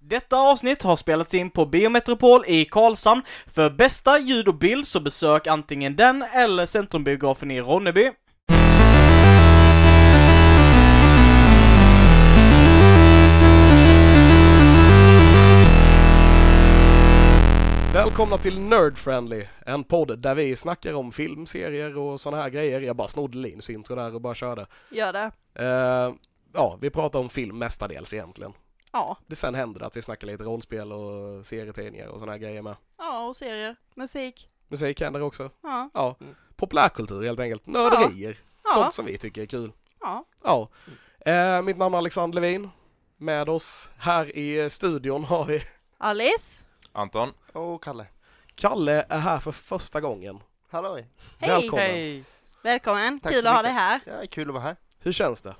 Detta avsnitt har spelats in på Biometropol i Karlshamn. För bästa ljud och bild så besök antingen den eller Centrumbiografen i Ronneby. Välkomna till Nerd Friendly, en podd där vi snackar om film, serier och sådana här grejer. Jag bara snodde Linus intro där och bara körde. Gör det. Eh, ja, vi pratar om film mestadels egentligen. Ja. Det sen händer det att vi snackar lite rollspel och serietidningar och sådana här grejer med. Ja, och serier. Musik. Musik händer också. Ja. Ja, populärkultur helt enkelt. Nörderier. Ja. Sånt som vi tycker är kul. Ja. Ja. Eh, mitt namn är Alexander Levin. Med oss här i studion har vi Alice. Anton, Och Kalle. Kalle är här för första gången. Halloj. Hej. Välkommen. Hej! Välkommen. Tack Kul så att ha dig mycket. här. Ja, kul att vara här. Hur känns det?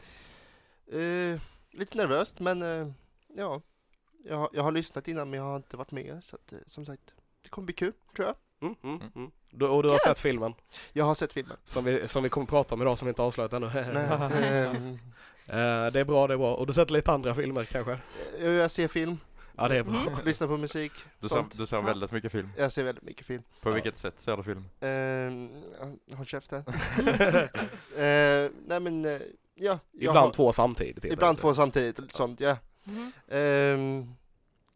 Eh, lite nervöst, men eh, ja. Jag, har- jag har lyssnat innan, men jag har inte varit med. Så att, eh, som sagt, det kommer bli kul, tror jag. Mm, mm, Mm. mm. Du, och du har sett filmen? Jag har sett filmen. Som vi, som vi kommer prata om idag som vi inte avslöjat ännu. Nej, ehm, Eh, det är bra, det är bra. Och du sett lite andra filmer kanske? eh, jag ser film, Ja, det är bra. lyssnar på musik, du ser, sånt. du ser väldigt mycket film. Jag ser väldigt mycket film. På vilket sätt ser du film? Ehm, ja, håll käften. Eh, nej men, eh, ja. jag Ibland har- två samtidigt. helt Ibland enkelt. två samtidigt, eller sånt ja. Mhm. Ehm,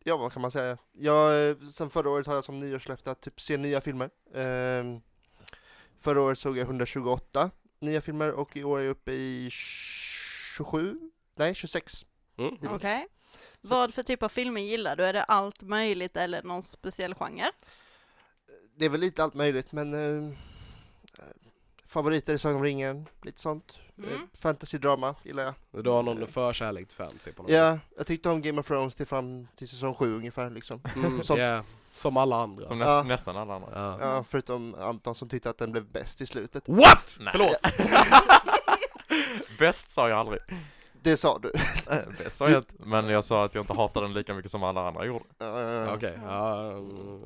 ja, vad kan man säga? Jag, eh, sen förra året har jag som nyårslöfte att typ se nya filmer. Ehm, förra året såg jag 128 nya filmer och i år är jag uppe i 27, nej 26. Mm. hittills. Okej. Vad för typ av filmer gillar du? Är det allt möjligt eller någon speciell Eh, genre? Det är väl lite allt möjligt men eh, favoriter är Sagan om ringen, lite sånt. Mm. Eh, fantasydrama gillar jag. Du har någon förkärlek till fantasy på något Ja, jag tyckte om Game of Thrones till fram till säsong 7 ungefär liksom. vis. Mm, Sånt. ja. Som alla andra. Som näst, Ja. nästan alla andra. Ja. Ja, förutom Anton som tyckte att den blev bäst i slutet. What? Nej. Förlåt! Bäst sa jag aldrig. Det sa du. Bäst sa jag inte. Men jag sa att jag inte hatar den lika mycket som alla andra gjorde. Ja. Okej. ja, mm,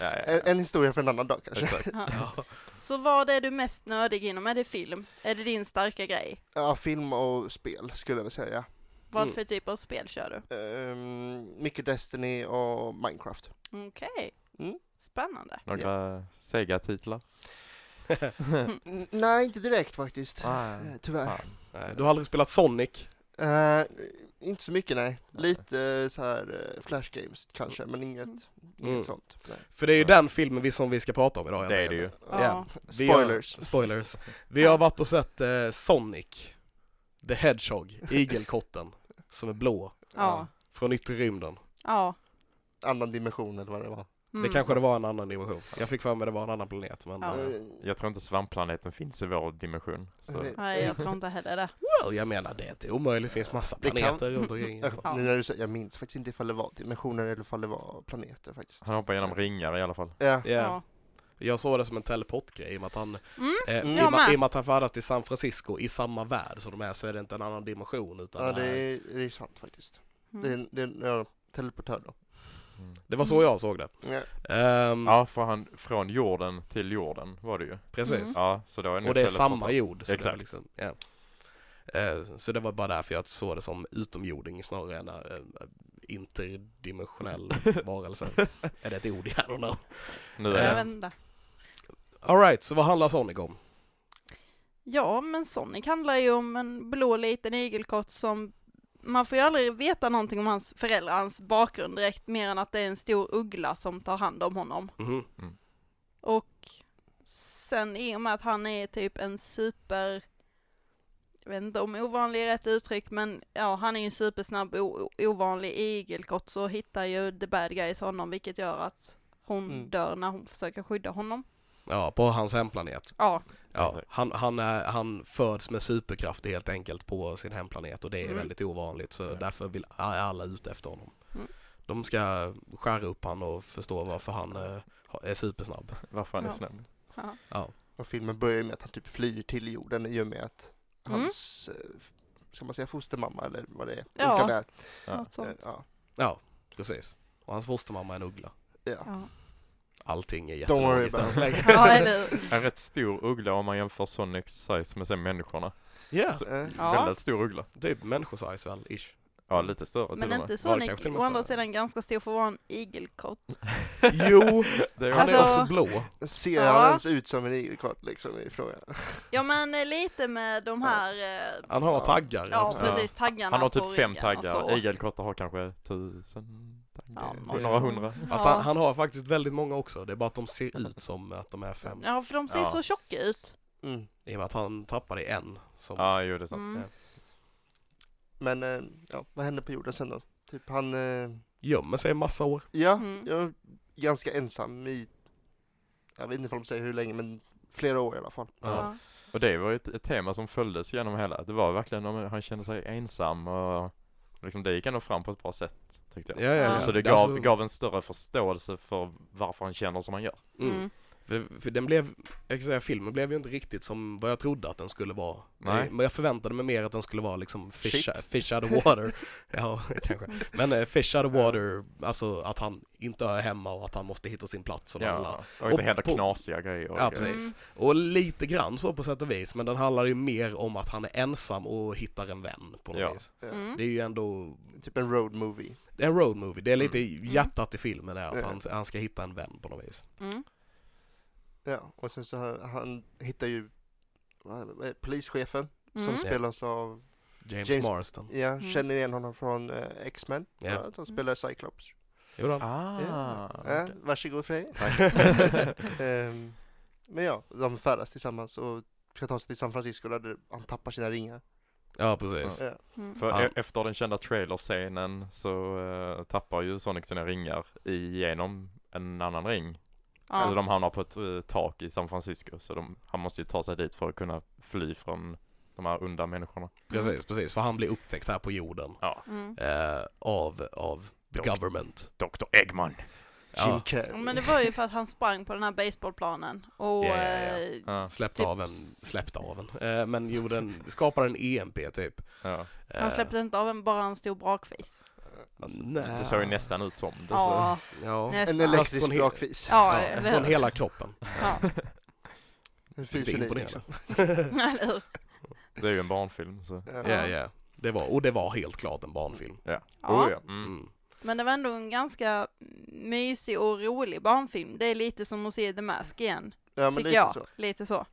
Ja, ja, En, ja. Eh, en historia för en annan dag kanske. Exakt. Ja. Så vad är du mest nördig inom? Är det film? Är det din starka grej? Ja, film och spel skulle jag vilja säga. Vad Mm. för typ av spel kör du? Um, mycket Destiny och Minecraft. Okej. Mm. Spännande. Några Sega-titlar? N- nej, inte direkt faktiskt. Nej. Eh, Tyvärr. Fan. nej, Du har aldrig spelat Sonic? Eh, inte så mycket nej. Lite eh, så här eh, flash games kanske, men inget, Mm. Mm. inget sånt. Nej. För det är ju den filmen vi, som vi ska prata om idag. helt Det är det enkelt. ju. Ja. Ja. Vi har- Spoilers. Spoilers. Vi har varit och sett eh, Sonic, The Hedgehog, igelkotten, som är blå, Ja. från yttre rymden. Ja. Annan dimension eller vad det var. Mm. Det kanske det var en annan dimension. Jag fick för mig det var en annan planet men... Ja. eh, Eh, Jag tror inte svampplaneten finns i vår dimension. Så. eh, Nej, jag tror inte heller det. Well, jag menar det är inte omöjligt, det finns massa Det kan- planeter runt omkring. eh, Ja. Nu när du säger, jag minns faktiskt inte ifall det var dimensioner eller ifall det var planeter faktiskt. Han hoppar genom ringar i alla fall. Ja, Ja. Ja. Jag såg det som en teleportgrej i och med att han, Mm. eh, Mm. i, Jag och med, med. i och med att han färdas till San Francisco i samma värld som de är så är det inte en annan dimension utan eh, ja det, det, är... är, det är sant faktiskt. Mm. Det är, en- det är en ja, teleportör då. Mm. det var så jag såg det. Ja. Ehm, Ja, för han, från jorden till jorden var det ju. Precis. Mm. Ja, så då är nog Och det är teleporten- samma jord. Så Det var Exakt. liksom, ja. Eh, Så det var bara därför jag såg det som utomjording snarare än eh, interdimensionell varelse. Är det ett ord? I don't know. Nu Jag är vet inte. Alright, så vad handlar Sonic om? Ja, men Sonic handlar ju om en blå liten igelkott som man får ju aldrig veta någonting om hans föräldrar, hans bakgrund direkt, mer än att det är en stor uggla som tar hand om honom. Mhm. Och sen i och med att han är typ en super, jag vet inte om ovanlig är rätt uttryck, men ja, han är ju en supersnabb o- ovanlig igelkott så hittar ju the bad guys honom, vilket gör att hon Mm. dör när hon försöker skydda honom. Ja, på hans hemplanet. Ja, Ja, Exakt. han, han, är, han föds med superkraft helt enkelt på sin hemplanet och det är Mm. väldigt ovanligt så Ja. därför vill är alla ute efter honom. Mm. De ska skära upp han och förstå varför han eh, ha- är supersnabb. varför han är Ja. snäll. ja. Ja. Och filmen börjar med att han typ flyr till jorden i och med att Mm. hans, eh, f- ska man säga fostermamma eller vad det är, Ja. ja. där. Ja. något Eh, sånt. Ja. ja, precis. Och hans fostermamma är en uggla. Ja. Ja, Allting är Don't worry jättelogiskt än about så länge. it. ja eller hur? En rätt stor uggla om man jämför Sonics size med sen människorna. Ja, Eh, Ja. Väldigt stor uggla. typ människosize väl, ish. Ja, lite större Men till och med. inte Var Sonic, det kanske till och å med andra större? sidan ganska stor för att vara en igelkott. Jo, Det han är är Alltså- också blå. Ser Ja. han ens ut som en igelkott liksom i frågan? Ja men eh, lite med de här, eh, Han har taggar. ja precis. precis, taggarna han har på typ fem ryggen och så. taggar, igelkottar har kanske tusen Ja, taggar, något några sånt. hundra. Fast han, han har faktiskt väldigt många också. Det är bara att de ser ut som att de är fem. Ja för de ser Ja. så tjocka ut. Mm. I och med att han tappade en. Som, Ja, jo det är sant. Mm. Men eh, ja, vad hände på jorden sen då? Typ han, eh, gömmer sig en massa år. ja, Mm. jag var ganska ensam i, jag vet inte om de säger hur länge, men flera år i alla fall. Ja. Och det var ju ett, ett tema som följdes genom hela, det var verkligen om han kände sig ensam och liksom det gick ändå fram på ett bra sätt tyckte jag. Ja, ja, Ja. ja. Så det gav, Alltså, gav en större förståelse för varför han känner som han gör. Mm. Mm. För, för den blev, jag kan säga filmen blev ju inte riktigt som vad jag trodde att den skulle vara. Nej. Eh, Men jag förväntade mig mer att den skulle vara liksom fish, Shit. fish out of water. ja, kanske. Men eh, fish out of water, alltså att han inte är hemma och att han måste hitta sin plats och alla. Ja, och Och inte hända på- knasiga grejer. och Ja, grejer. precis. Och lite grann så på sätt och vis, men den handlar ju mer om att han är ensam och hittar en vän på något Ja. vis. Ja. Mm. Det är ju ändå, Eh, Typ en road movie. det är en road movie, det är lite Mm. hjärtat i filmen är att Mm. han, han ska hitta en vän på något vis. Mm. Ja, och sen så har- han hittar ju vad- vad är det, polischefen som Mm. spelas av, James, James- Marston. ja, känner igen honom från eh, X-Men. Ja. Ja, att han spelar Cyclops. Gjorde han? Ah, Ja. okej. Ja, varsågod Frej. Ehm, men ja, de färdas tillsammans och ska ta sig till San Francisco där han tappar sina ringar. Ja, precis. Ja. Mm. För Ja. e- efter den kända trailerscenen så eh, tappar ju Sonic sina ringar igenom en annan ring. Så Ja. de hamnar på ett eh, tak i San Francisco. Så de, han måste ju ta sig dit för att kunna fly från de här onda människorna. Precis, precis. För han blir upptäckt här på jorden Mm. eh, av, av the Dock. government. Dr. Eggman. Jim Ja, Carrey. Men det var ju för att han sprang på den här baseballplanen och Ja, ja, ja. eh, Ja, släppte Typ av en, släppte av en. Eh, men jo, den skapar en EMP typ. ja. Eh, han släppte inte av en, bara en stor brakfis. Alltså, nä. Det såg ju nästan ut som det. så- Ah. Ja, Eh, Ja, En nästan. elekt- elektrisk Fast från- brakfis. Ja, ja, eller från hur? hela kroppen. Ja. Hur Inte fisen är det? imponerande. Eller hur? Det är ju en barnfilm så. Ja. Ja, ja. Det var, och det var helt klart en barnfilm. Ja. Oh, ja. Mm. Mm. Men det var ändå en ganska mysig och rolig barnfilm. Det är lite som att se The Mask igen, Ja, men tycker lite jag. så. Lite så.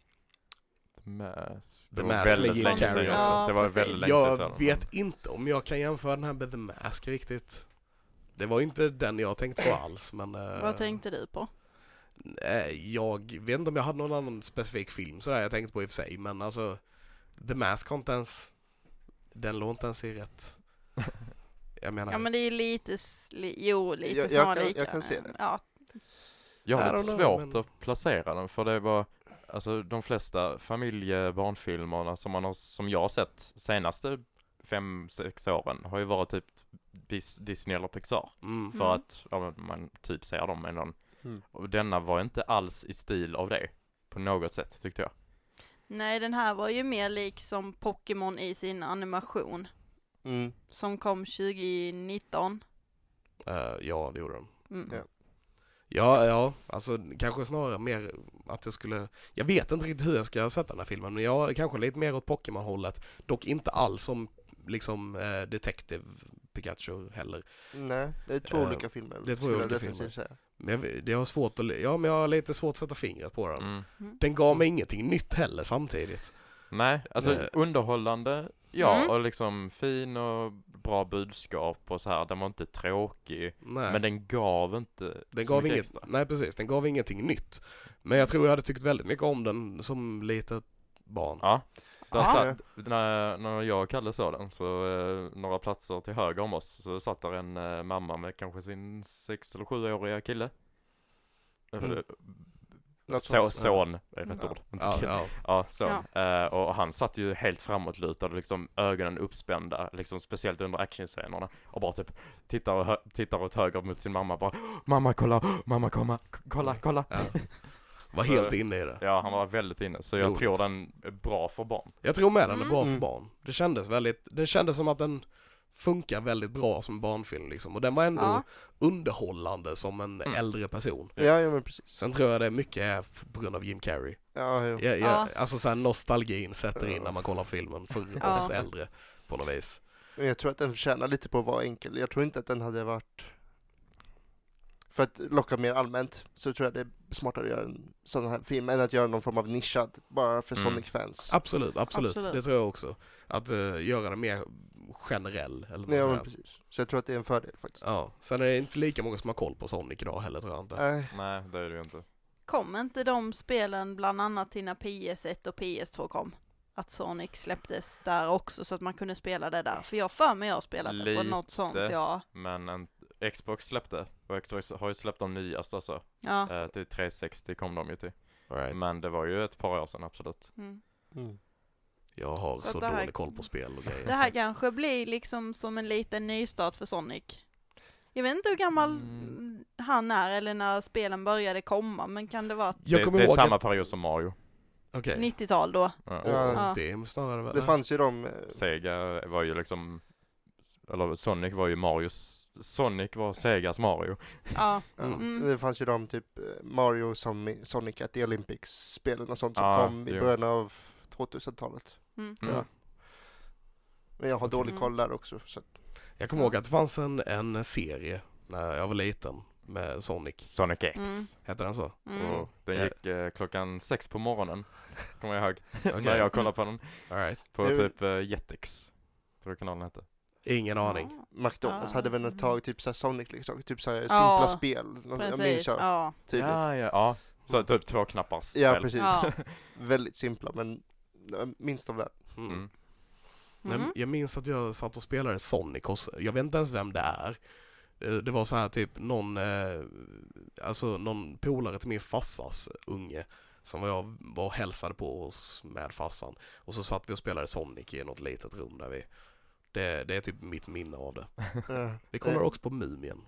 The Mask. The Det var Mask med väldigt Jim länge Carrey sedan. också. alltså. Det var Ja, väldigt precis. länge sedan. jag såg Jag den. vet inte om jag kan jämföra den här med The Mask riktigt. Det var inte den jag tänkte på alls, men... eh, Vad tänkte du på? Eh, Jag vet inte om jag hade någon annan specifik film sådär jag tänkte på i och för sig men alltså The Mask har inte ens Den låg inte ens i rätt Jag menar Ja men det är ju lite, s- li, jo lite Jag- jag kan- snarlika. jag kan se det. Ja, Jag I har don't lite know, svårt men- att placera den för det var Alltså de flesta familjebarnfilmerna som man har, som jag har sett senaste fem, sex åren har ju varit typ Dis- Disney eller Pixar. mm, För Mm. att, ja, men man typ ser dem ändå. Mm. Och denna var inte alls i stil av det. På något sätt tyckte jag. nej den här var ju mer lik som Pokémon i sin animation. Mm. Som kom 2019. eh, Ja det gjorde de Mm. Ja. Ja, ja, alltså kanske snarare mer att jag skulle Jag vet inte riktigt hur jag ska sätta den här filmen men jag kanske lite mer åt Pokémon-hållet Dock inte alls som liksom eh, Detective Pikachu heller Nej, det är två Eh, olika filmer. det är två skulle jag olika definitivt filmer. säga. Men jag, vet- det har svårt att, ja men jag har lite svårt att sätta fingret på den Mm. Den gav mig ingenting nytt heller samtidigt Nej, alltså Eh. underhållande, ja, Mm. och liksom fin och bra budskap och så här. Den var inte tråkig. Nej. Men den gav inte Den så gav mycket inget, extra. nej precis, den gav ingenting nytt. Men jag tror jag hade tyckt väldigt mycket om den som litet barn. Ja. Där Ja. satt, när, när jag och Kalle såg den, så eh, några platser till höger om oss, så satt där en eh, mamma med kanske sin sex eller sjuåriga kille. Mm. Mm. Något Så, sånt. son, är rätt Ja. ord. Ja, ja. Ja, son. Eh, och han satt ju helt framåtlutad och liksom ögonen uppspända, liksom speciellt under actionscenerna. Och bara typ tittar, och hö- tittar åt höger mot sin mamma bara Mamma kolla, mamma komma, k- kolla, kolla. ja. Var helt inne i det. Ja, han var väldigt inne. Så jag Roligt. tror den är bra för barn. Jag tror med den är bra för Mm. barn. Det kändes väldigt, det kändes som att den funkar väldigt bra som barnfilm liksom. Och den var ändå Ja. underhållande som en Mm. äldre person. Ja, ja men precis. Sen tror jag det mycket är f- på grund av Jim Carrey. Ja, jo. Jag, jag, Ja. Alltså såhär nostalgin sätter in Ja. när man kollar på filmen för Ja. oss äldre på något vis. Men jag tror att den förtjänar lite på att vara enkel. Jag tror inte att den hade varit... För att locka mer allmänt så tror jag det är smartare att göra en sån här film än att göra någon form av nischad bara för Mm. Sonic-fans. Absolut, absolut, Absolut. Det tror jag också. Att eh, göra det mer generell eller vad Ja, man men säger. precis. Så jag tror att det är en fördel faktiskt. Ja, sen är det inte lika många som har koll på Sonic idag heller tror jag inte. Nej. Nej, det är det ju inte. Kom inte de spelen bland annat till när PS1 och PS2 kom? Att Sonic släpptes där också så att man kunde spela det där. För jag har för mig jag har spelat det på Eh, Lite. något sånt ja. Men en, Xbox släppte, och Xbox har ju släppt de nyaste alltså. ja. Eh, till 360 kom de ju till. All right. Men det var ju ett par år sedan absolut. Mm. Jag har så, Så det här- dålig koll på spel och Det grejer. här kanske blir liksom som en liten nystart för Sonic. Jag vet inte hur gammal Mm. han är eller när spelen började komma men kan det vara Jag det kommer det är ihåg samma att... period som Mario. Okej. 90-tal då? Ja. Och Ja. det snarare väl? Det fanns ju de... eh, Sega var ju liksom, eller Sonic var ju Marios, Sonic var Segas Mario. Ja. ja. Mm. Det fanns ju de typ eh, Mario, Som- Sonic at the Olympics-spelen och sånt som Ja, kom i jo. början av 2000-talet. Mm. Mm. Ja. Men jag har dålig Mm. koll där också. Så. att- Jag kommer ihåg att det fanns en, en serie när jag var liten med Sonic. Sonic X. Mm. Hette den så? Mm. Och den gick eh, klockan sex på morgonen, kommer jag ihåg. När Okej. jag kollade på den. All right. På Det är väl- typ eh, Jetix. Tror jag kanalen hette. Ingen aning. Ja. McDonalds Ja. Alltså, hade väl ett tag typ såhär Sonic liksom, typ såhär simpla Ah. Ja, spel. Nå- Jag minns Precis, jag ja. tydligt. Ja, Ja, ja, ja. Så typ två knappar spel. precis. ja. Väldigt simpla men jag minns de väl. Mm. Mm. Nej, Mhm. Jag minns att jag satt och spelade Sonic hos, jag vet inte ens vem det är. Eh, Det var så här typ någon, eh, alltså någon polare till min farsas unge som jag var och hälsade på hos med farsan. Och så satt vi och spelade Sonic i något litet rum där vi, det, det är typ mitt minne av det. Eh, Vi kollade eh, också på Mumien.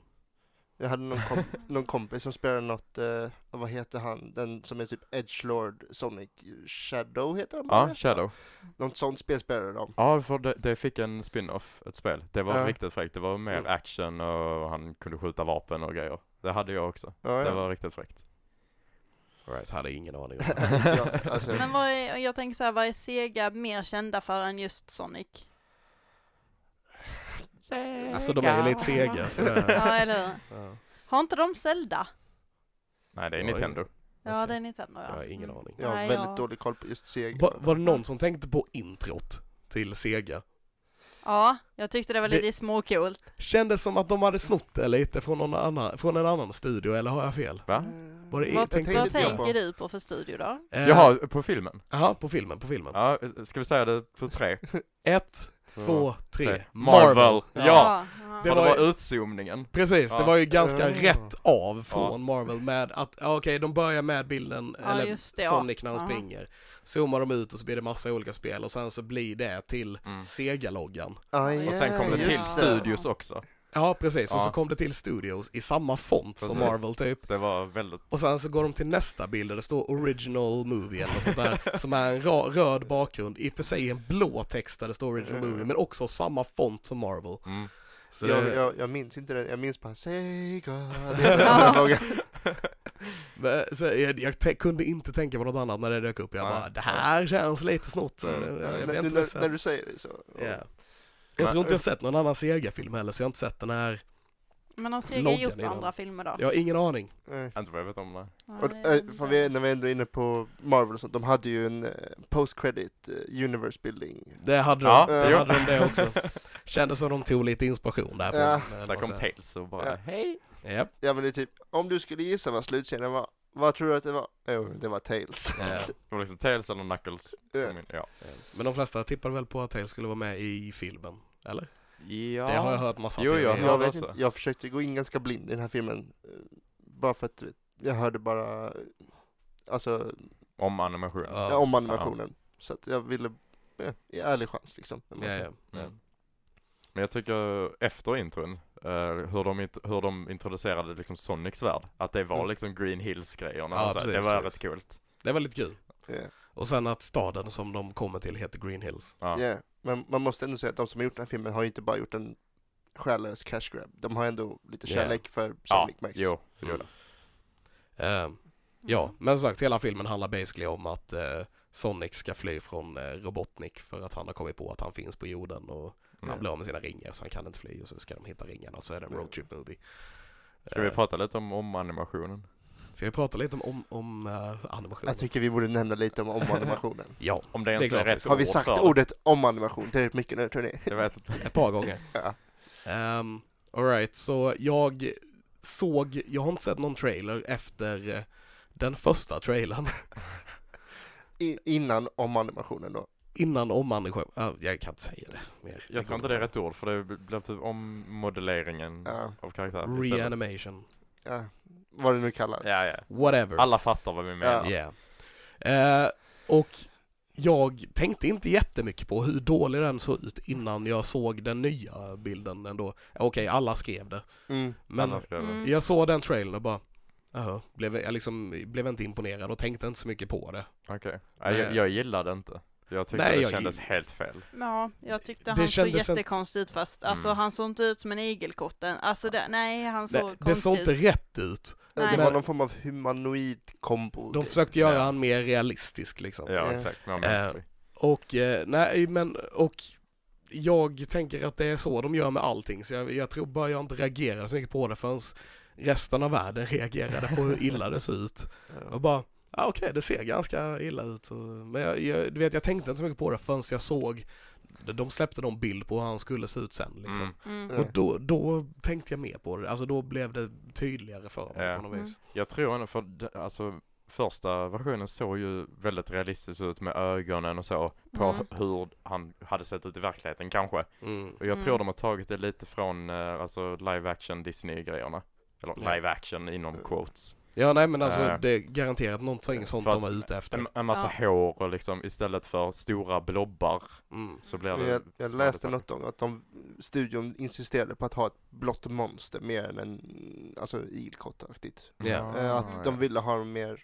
Jag hade någon, kom någon kompis som spelade något, eh, vad heter han, den som är typ Edgelord Sonic Shadow heter han Ja, bara? Shadow. Något sånt spel spelade de. Ja, för det, det fick en spin-off, ett spel. Det var Ja. riktigt fräckt. Det var mer Mm. action och han kunde skjuta vapen och grejer. Det hade jag också. Ja, Det ja. var riktigt fräckt. All Right, hade ingen aning om det. Inte jag, alltså, Men vad är, jag tänker så här, vad är Sega mer kända för än just Sonic? Alltså de är ju lite sega så det, Ja, eller hur? ja. Har inte de Zelda? Nej, det är Oj. Nintendo. Ja, Okej. det är Nintendo ja. Jag har ingen Mm. aning. jag har Nej, väldigt jag- dålig koll på just Sega. Var, var det någon som tänkte på introt till Sega? Ja, jag tyckte det var lite småcoolt. Kändes som att de hade snott det lite från, någon annan, från en annan studio, eller har jag fel? Va? Eh, Var det- Vad, tänkte vad lite grann tänker du på för studio då? Eh, Jaha, på filmen? Jaha, på filmen, på filmen. Ja, ska vi säga det på tre? Ett, två, tre. tre. Marvel. Ja. ja. Det För det var var, ju- utzoomningen. Precis, det Ja. var ju ganska Ja. rätt av från Marvel med att, ja, okej, de börjar med bilden, Ja, eller just det, ja. Sonic när han Ja. springer. Zoomar de ut och så blir det massa olika spel och sen så blir det till Mm. Sega-loggan. Ah, Och sen kom det yes, till just det. studios också. Ja, precis, och Ja. så kom det till Studios i samma font som Precis. Marvel typ. Det var väldigt... Och sen så går de till nästa bild där det står original movie eller något sånt där, som är en ra- röd bakgrund, i och för sig en blå text där det står original movie, men också samma font som Marvel. Mm. Så det- Jag, jag, jag minns inte den, jag minns bara Sega. Det är den loggan. Men, Så jag jag te- kunde inte tänka på något annat när det dök upp. Jag Nej. bara, det här känns lite snott. Mm. Jag, jag, Ja, jag när, vet nu inte vad jag när, när säger. du säger det så. Ja. Jag tror inte jag sett någon annan Sega-film heller, så jag har inte sett den här. Men har Sega Loggan gjort i dem. andra filmer då? Jag har ingen aning. Nej. Inte vad jag vet om det. Ja, Eh. Och, det är eh, väl för det. vi, när vi ändå är inne på Marvel och sånt, de hade ju en eh, post-credit eh, universe building. Det hade de, Ja, det jo. hade de det också. Kändes som de tog lite inspiration därifrån. Ja. eller Där vad kom säger Tails och bara Ja. hej! jag? Japp. Ja men det är typ, om du skulle gissa vad slutserien var, vad tror du att det var? Jo, det var Tails. Eh, Ja. Det var liksom Tails eller Knuckles. Ja. Ja. Eh, Men de flesta tippade väl på att Tails skulle vara med i filmen, eller? ja. Det har jag hört massa Jo, jo, teorier jag om. Jag, Ja, det vet var så. inte, jag försökte gå in ganska blind i den här filmen, eh, bara för att du vet, jag hörde bara, eh, alltså, Om animation. ja. Ja, om animationen. Så att jag ville, eh, i ärlig chans liksom. om ja, man säger. ja. ja. Mm. Men jag tycker efter intron, eh, hur, de, int- hur de introducerade liksom Sonics värld, att det var Mm. liksom Green Hills-grejerna. Ja, och så här. det precis, var precis. rätt coolt. Det var lite kul. Ja. Och sen att staden som de kommer till heter Green Hills. Ja. Ja, men man måste ändå säga att de som har gjort den här filmen har ju inte bara gjort en själlös cash grab. De har ändå lite Ja. kärlek för Ja, Sonic Max. jo, det Mm. gjorde Ehm, Ja, men som sagt hela filmen handlar basically om att eh, Sonic ska fly från eh, Robotnik för att han har kommit på att han finns på jorden och Han blir av med sina ringar så han kan inte fly och så ska de hitta ringarna och så är det en roadtrip movie. Ska vi Eh, prata lite om, om animationen? ska vi prata lite om, om, om eh, animationen? Jag tycker vi borde nämna lite om omanimationen. Ja, Om det Det är ens är klart vi rätt ska. Har vi ord sagt för det. ordet omanimation tillräckligt mycket nu tror ni? Jag vet inte. ett par gånger. Ja. um, Alright, så jag såg, jag har inte sett någon trailer efter eh, den första trailern I, innan omanimationen då. innan omanimationen. Uh, jag kan inte säga det mer. Jag tror inte det är rätt ord för det blev typ ommodelleringen Ja, av karaktär istället. Reanimation, ja. Vad det nu kallas. Ja, ja. whatever. Alla fattar vad vi menar. Ja. Yeah. Eh, och jag tänkte inte jättemycket på hur dålig den såg ut innan jag såg den nya bilden ändå. Okej, alla skrev det. Mm. Men Alla skrev det. Mm. jag såg den trailern och bara, jaha, blev, jag liksom, blev inte imponerad och tänkte inte så mycket på det. Okej. Nej, Jag, Nej. jag gillade inte. Jag tyckte Nej, det jag kändes helt fel. Ja, jag tyckte Det han såg kändes inte- jättekonstig ut fast alltså Mm. han såg inte ut som en igelkotte. Alltså det, nej, han såg Det, det konstig såg inte ut. rätt ut. Det Nej. var någon form av humanoid kombo. De försökte göra Ja. han mer realistisk liksom. Ja, Ja. exakt. Mer Eh, mänsklig. Och eh, nej, men och jag tänker att det är så de gör med allting, så jag, jag tror bara jag inte reagerade så mycket på det förrän resten av världen reagerade på hur illa det såg ut. Och bara, ja ah, okej, det ser ganska illa ut. Och- Men jag, jag, du vet, jag tänkte inte så mycket på det förrän jag såg, de släppte någon bild på hur han skulle se ut sen liksom. Mm. Mm. Ja. Och då, då tänkte jag mer på det, alltså då blev det tydligare för mig Ja. på något vis. Jag tror ändå för d- alltså första versionen såg ju väldigt realistisk ut med ögonen och så på Mm. h- hur han hade sett ut i verkligheten kanske. Mm. Och jag tror Mm. de har tagit det lite från eh, alltså live action Disney-grejerna. Eller Ja. live action inom Mm. quotes. Ja nej men alltså Eh. det är garanterat någonting sånt För de var ute efter. En, en massa hår och liksom istället för stora blobbar Mm. så blir det Jag, jag små läste detaljer. något om att de, studion insisterade på att ha ett blått monster mer än en, alltså igelkottaktigt. Ah, Ja. Ja, Eh, att ja. de ville ha mer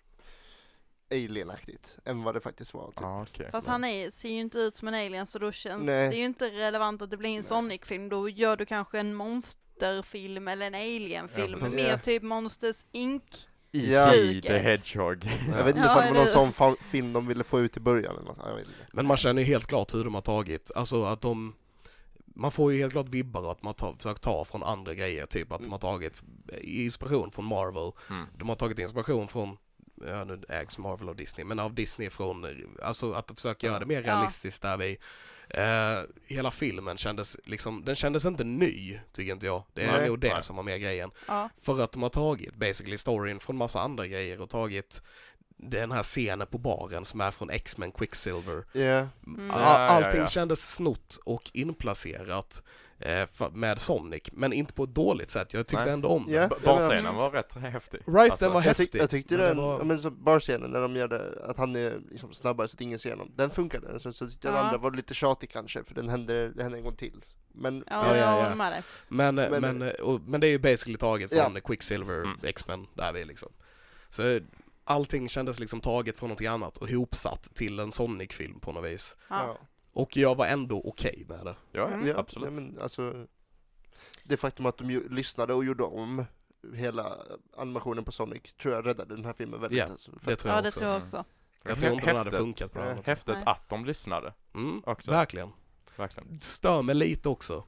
alienaktigt än vad det faktiskt var. Typ. Ah. Ja, Ah, okej. Fast han är, ser ju inte ut som en alien så då känns Nej. det är ju inte relevant att det blir en Nej. Sonic-film. Då gör du kanske en monsterfilm eller en alien-film. Ja, precis. mer Ja. typ Monsters Inc. Ja. E.T. the Flyget. Hedgehog. Jag vet inte Ja, ifall det var någon eller- sån fa- film de ville få ut i början eller något. Ja, Jag vet inte. Men man känner ju helt klart hur de har tagit, alltså att de man får ju helt klart vibbar att man har försökt ta från andra grejer, typ att de har tagit inspiration från Marvel, Mm. de har tagit inspiration från, ja nu ägs Marvel av Disney, men av Disney från, alltså att försöka göra det mer Ja. realistiskt där vi, eh, hela filmen kändes liksom, den kändes inte ny, tycker inte jag. Det är Nej. nog det Nej. som var mer grejen. Ja. För att de har tagit basically storyn från massa andra grejer och tagit den här scenen på baren som är från X-Men Quicksilver. Ja, Mm. A- Ja, ja, Allting ja. kändes snott och inplacerat eh, fa- med Sonic, men inte på ett dåligt sätt. Jag tyckte Nej. ändå om ja, den. B- jag menar- Barscenen var rätt häftig. Right, den var jag, tyck, häftig. jag tyckte men det den, var- ja, men så barscenen när de gjorde att han är liksom snabbare så att ingen ser honom, den funkade. Sen så tyckte jag den Ja. andra var lite tjatig kanske för den hände, det hände en gång till. Men Ja, Ja, ja, jag ja. håller med dig. Men, eh, Men- men, eh, och, men det är ju basically taget Ja. från Quicksilver, Mm. X-Men, där vi liksom. Så eh, allting kändes liksom taget från någonting annat och ihopsatt till en Sonic-film på något vis. Ja. Och jag var ändå okej med det. Ja, Mm. ja, Ja, absolut. ja, men alltså, det faktum att de ju, lyssnade och gjorde om hela animationen på Sonic tror jag räddade den här filmen väldigt. Ja, alltså, för Det att- tror Ja, jag det också. tror jag också. Jag tror inte den hade Häftigt. funkat på något annat sätt. Häftigt Nej. att de lyssnade Mm, också. verkligen. Verkligen. Stör mig lite också.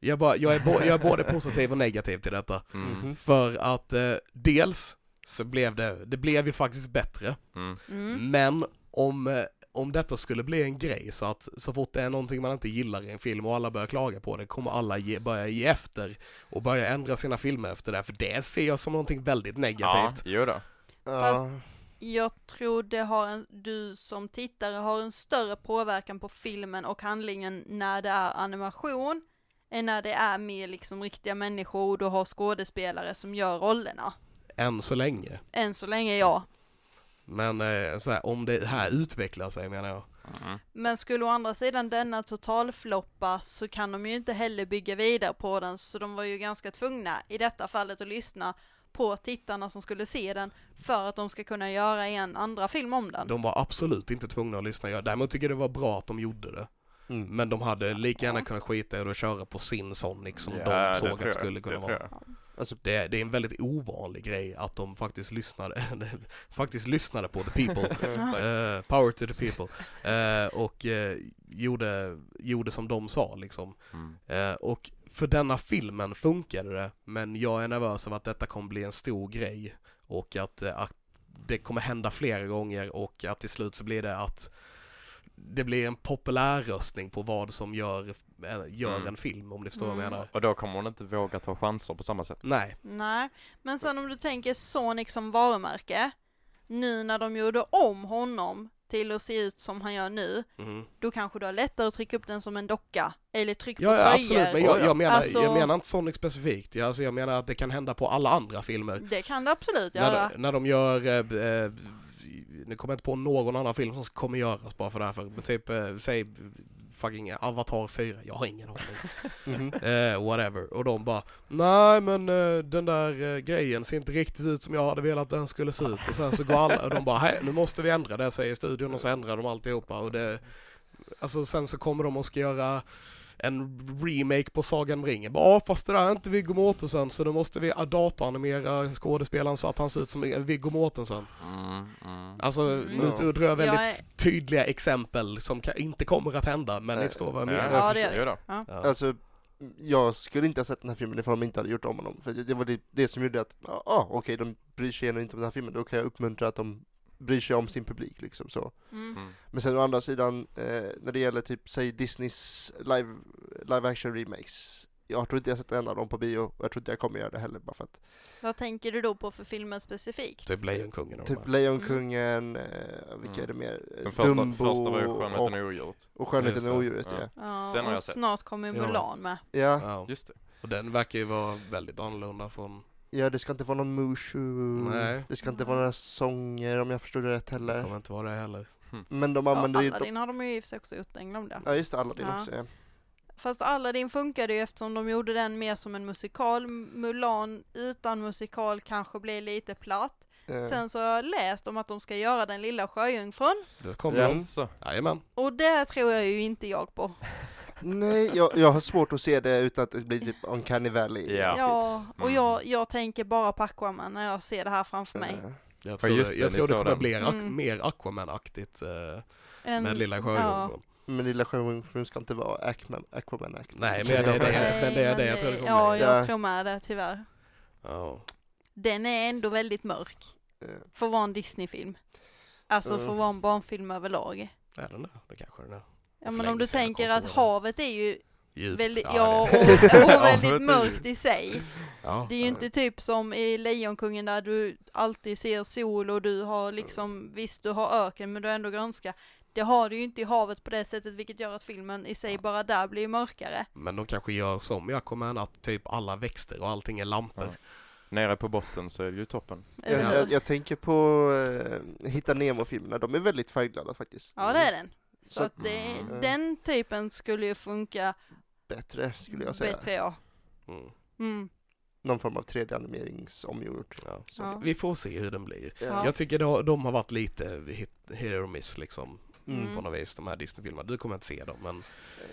Jag, bara, jag, är, bo- jag är både positiv och negativ till detta. Mm. Mm. Mhm. För att eh, dels så blev det, det blev ju faktiskt bättre, Mm. men om, eh, om detta skulle bli en grej så att så fort det är någonting man inte gillar i en film och alla börjar klaga på det kommer alla ge, börja ge efter och börja ändra sina filmer efter det, för det ser jag som någonting väldigt Ja, negativt. jo då. Ja, Jag tror det har en, du som tittare har en större påverkan på filmen och handlingen när det är animation än när det är mer liksom riktiga människor och du har skådespelare som gör rollerna. Än så länge. Än så länge ja. Men eh, så här, om det här utvecklar sig menar jag. Mm. Men skulle å andra sidan denna totalfloppa så kan de ju inte heller bygga vidare på den så de var ju ganska tvungna i detta fallet att lyssna på tittarna som skulle se den för att de ska kunna göra en andra film om den. De var absolut inte tvungna att lyssna. Jag däremot tycker det var bra att de gjorde det. mm. Men de hade lika gärna kunnat skita i det och köra på sin Sonic som Ja, Liksom, de det såg tror att jag. skulle kunna Det vara. tror jag. Alltså, Det, det är en väldigt ovanlig grej att de faktiskt lyssnade, faktiskt lyssnade på the people. eh, Eh, power to the people. Eh, och eh, gjorde, gjorde som de sa liksom. Mm. Eh, och för denna filmen funkade det, men jag är nervös över att detta kommer bli en stor grej och att, eh, att det kommer hända flera gånger och att till slut så blir det att det blir en populär röstning på vad som gör, eh, gör Mm. en film om ni förstår vad jag Mm. menar. Och då kommer hon inte våga ta chanser på samma sätt. Nej, Nej, men sen om du tänker Sonic som varumärke, nu när de gjorde om honom till att se ut som han gör nu, Mhm. då kanske du har lättare att trycka upp den som en docka, eller tryck på ja, ja tröjor. absolut, men jag, jag, menar, jag Alltså- menar inte Sonic specifikt, jag, alltså, jag menar att det kan hända på alla andra filmer. Det kan du absolut göra. När, de- när de gör, eh, b- eh, nu kommer jag inte på någon annan film som kommer göras bara för det här för, men typ, eh, säg fucking Avatar 4, jag har ingen aning. mhm. Eh, whatever. Och de bara, nej men eh, den där eh, grejen ser inte riktigt ut som jag hade velat den skulle se ut. Och sen så går alla, och de bara, hej nu måste vi ändra det säger studion och så ändrar de alltihopa. Och det, alltså sen så kommer de och ska göra en remake på Sagan om ringen. Bara, Ja fast det där är inte Viggo Mortensen så då måste vi dataanimera skådespelaren så att han ser ut som Viggo Mortensen. Mm, mm. Alltså Mm. nu drar jag väldigt Jag tydliga exempel som ka- inte kommer att hända men ni Nej. förstår vad jag Ja, menar. Ja, jag det gör förstår. Jo då. Ja. Alltså, jag skulle inte ha sett den här filmen ifall de inte hade gjort om honom. För det det var det, det som gjorde att, ja ah, okej, de bryr sig ändå inte om den här filmen. Då kan jag uppmuntra att de bryr sig om sin publik liksom så. Mm. Mm. Men sen å andra sidan, eh, när det gäller typ, säg Disneys live, live action remakes. Jag tror inte jag sett en av dem på bio, och jag tror inte jag kommer göra det heller bara för att. Vad tänker du då på för filmen specifikt? Typ Lejonkungen och de här. Typ Lejonkungen, eh, vilka är det Mm. mer? Eh, Den första, första var ju Skönheten och och, odjuret. och Skönheten Just och det, odjuret ja. ja. Ja, Den har och jag sett. snart kommer Ja. Mulan med. Ja, Ja. Just det. Och den verkar ju vara väldigt annorlunda från... ja, det ska inte vara någon Mushu. Nej. Det ska inte vara några sånger om jag förstod det rätt Det heller. kommer inte vara det heller. Men de Ja, använder ju... de- Aladdin har de ju i och för sig också gjort, den glömde jag. Ja just det, Aladdin Ja. också ja. Fast Aladdin funkade ju eftersom de gjorde den mer som en musikal. M- Mulan utan musikal kanske blir lite platt. Eh, Sen så har jag läst om att de ska göra Den lilla sjöjungfrun. Det kommer yes. Jaså? de. Jajamän. Och det tror jag ju inte jag på. Nej, jag, jag har svårt att se det utan att det blir typ Uncanny Valley. Ja. Ja, och Mm. jag, jag tänker bara på Aquaman när jag ser det här framför mig. Eh, Jag tror, just det, det, jag ni tror det sa kommer den. bli ak- Mm. mer Aquaman-aktigt eh, En, med Lilla Sjöjungfrun. Men Lilla Sjöjungfrun ska inte vara Aquaman, Aquaman Act. Nej, men det är det, Nej, men det, är det jag tror det kommer Ja, bli. jag Ja. tror med det tyvärr. Ja. Den är ändå väldigt mörk. Eh, För att vara en Disney-film. Alltså för att Mm. vara en barnfilm överlag. Är den där? Det kanske den är. Ja, för men om länge du sedan jag tänker kom att så var det. havet är ju Djupt. väldigt, jag ja, och, vet. Ja, och det är väldigt det. mörkt i sig. ja. Det är ju inte typ som i Lejonkungen där du alltid ser sol och du har liksom, visst du har öken men du har ändå grönska. Det har du ju inte i havet på det sättet vilket gör att filmen i sig bara där blir mörkare. Men de kanske gör som i Aquaman, att typ alla växter och allting är lampor. Nere på botten så är det ju toppen. Jag, Eller hur? jag, jag tänker på eh, Hitta Nemo-filmerna, de är väldigt färgglada faktiskt. Ja det är den. Så Så- att det, Mm. den typen skulle ju funka Bättre skulle jag säga. bättre ja. Mm. Mm. Någon form av 3D-animeringsomgjort. Ja. Så- Ja. Vi får se hur den blir. Ja. Jag tycker de har, de har varit lite hit, hit or miss liksom. Mm. på något vis, de här Disney-filmerna. Du kommer inte se dem men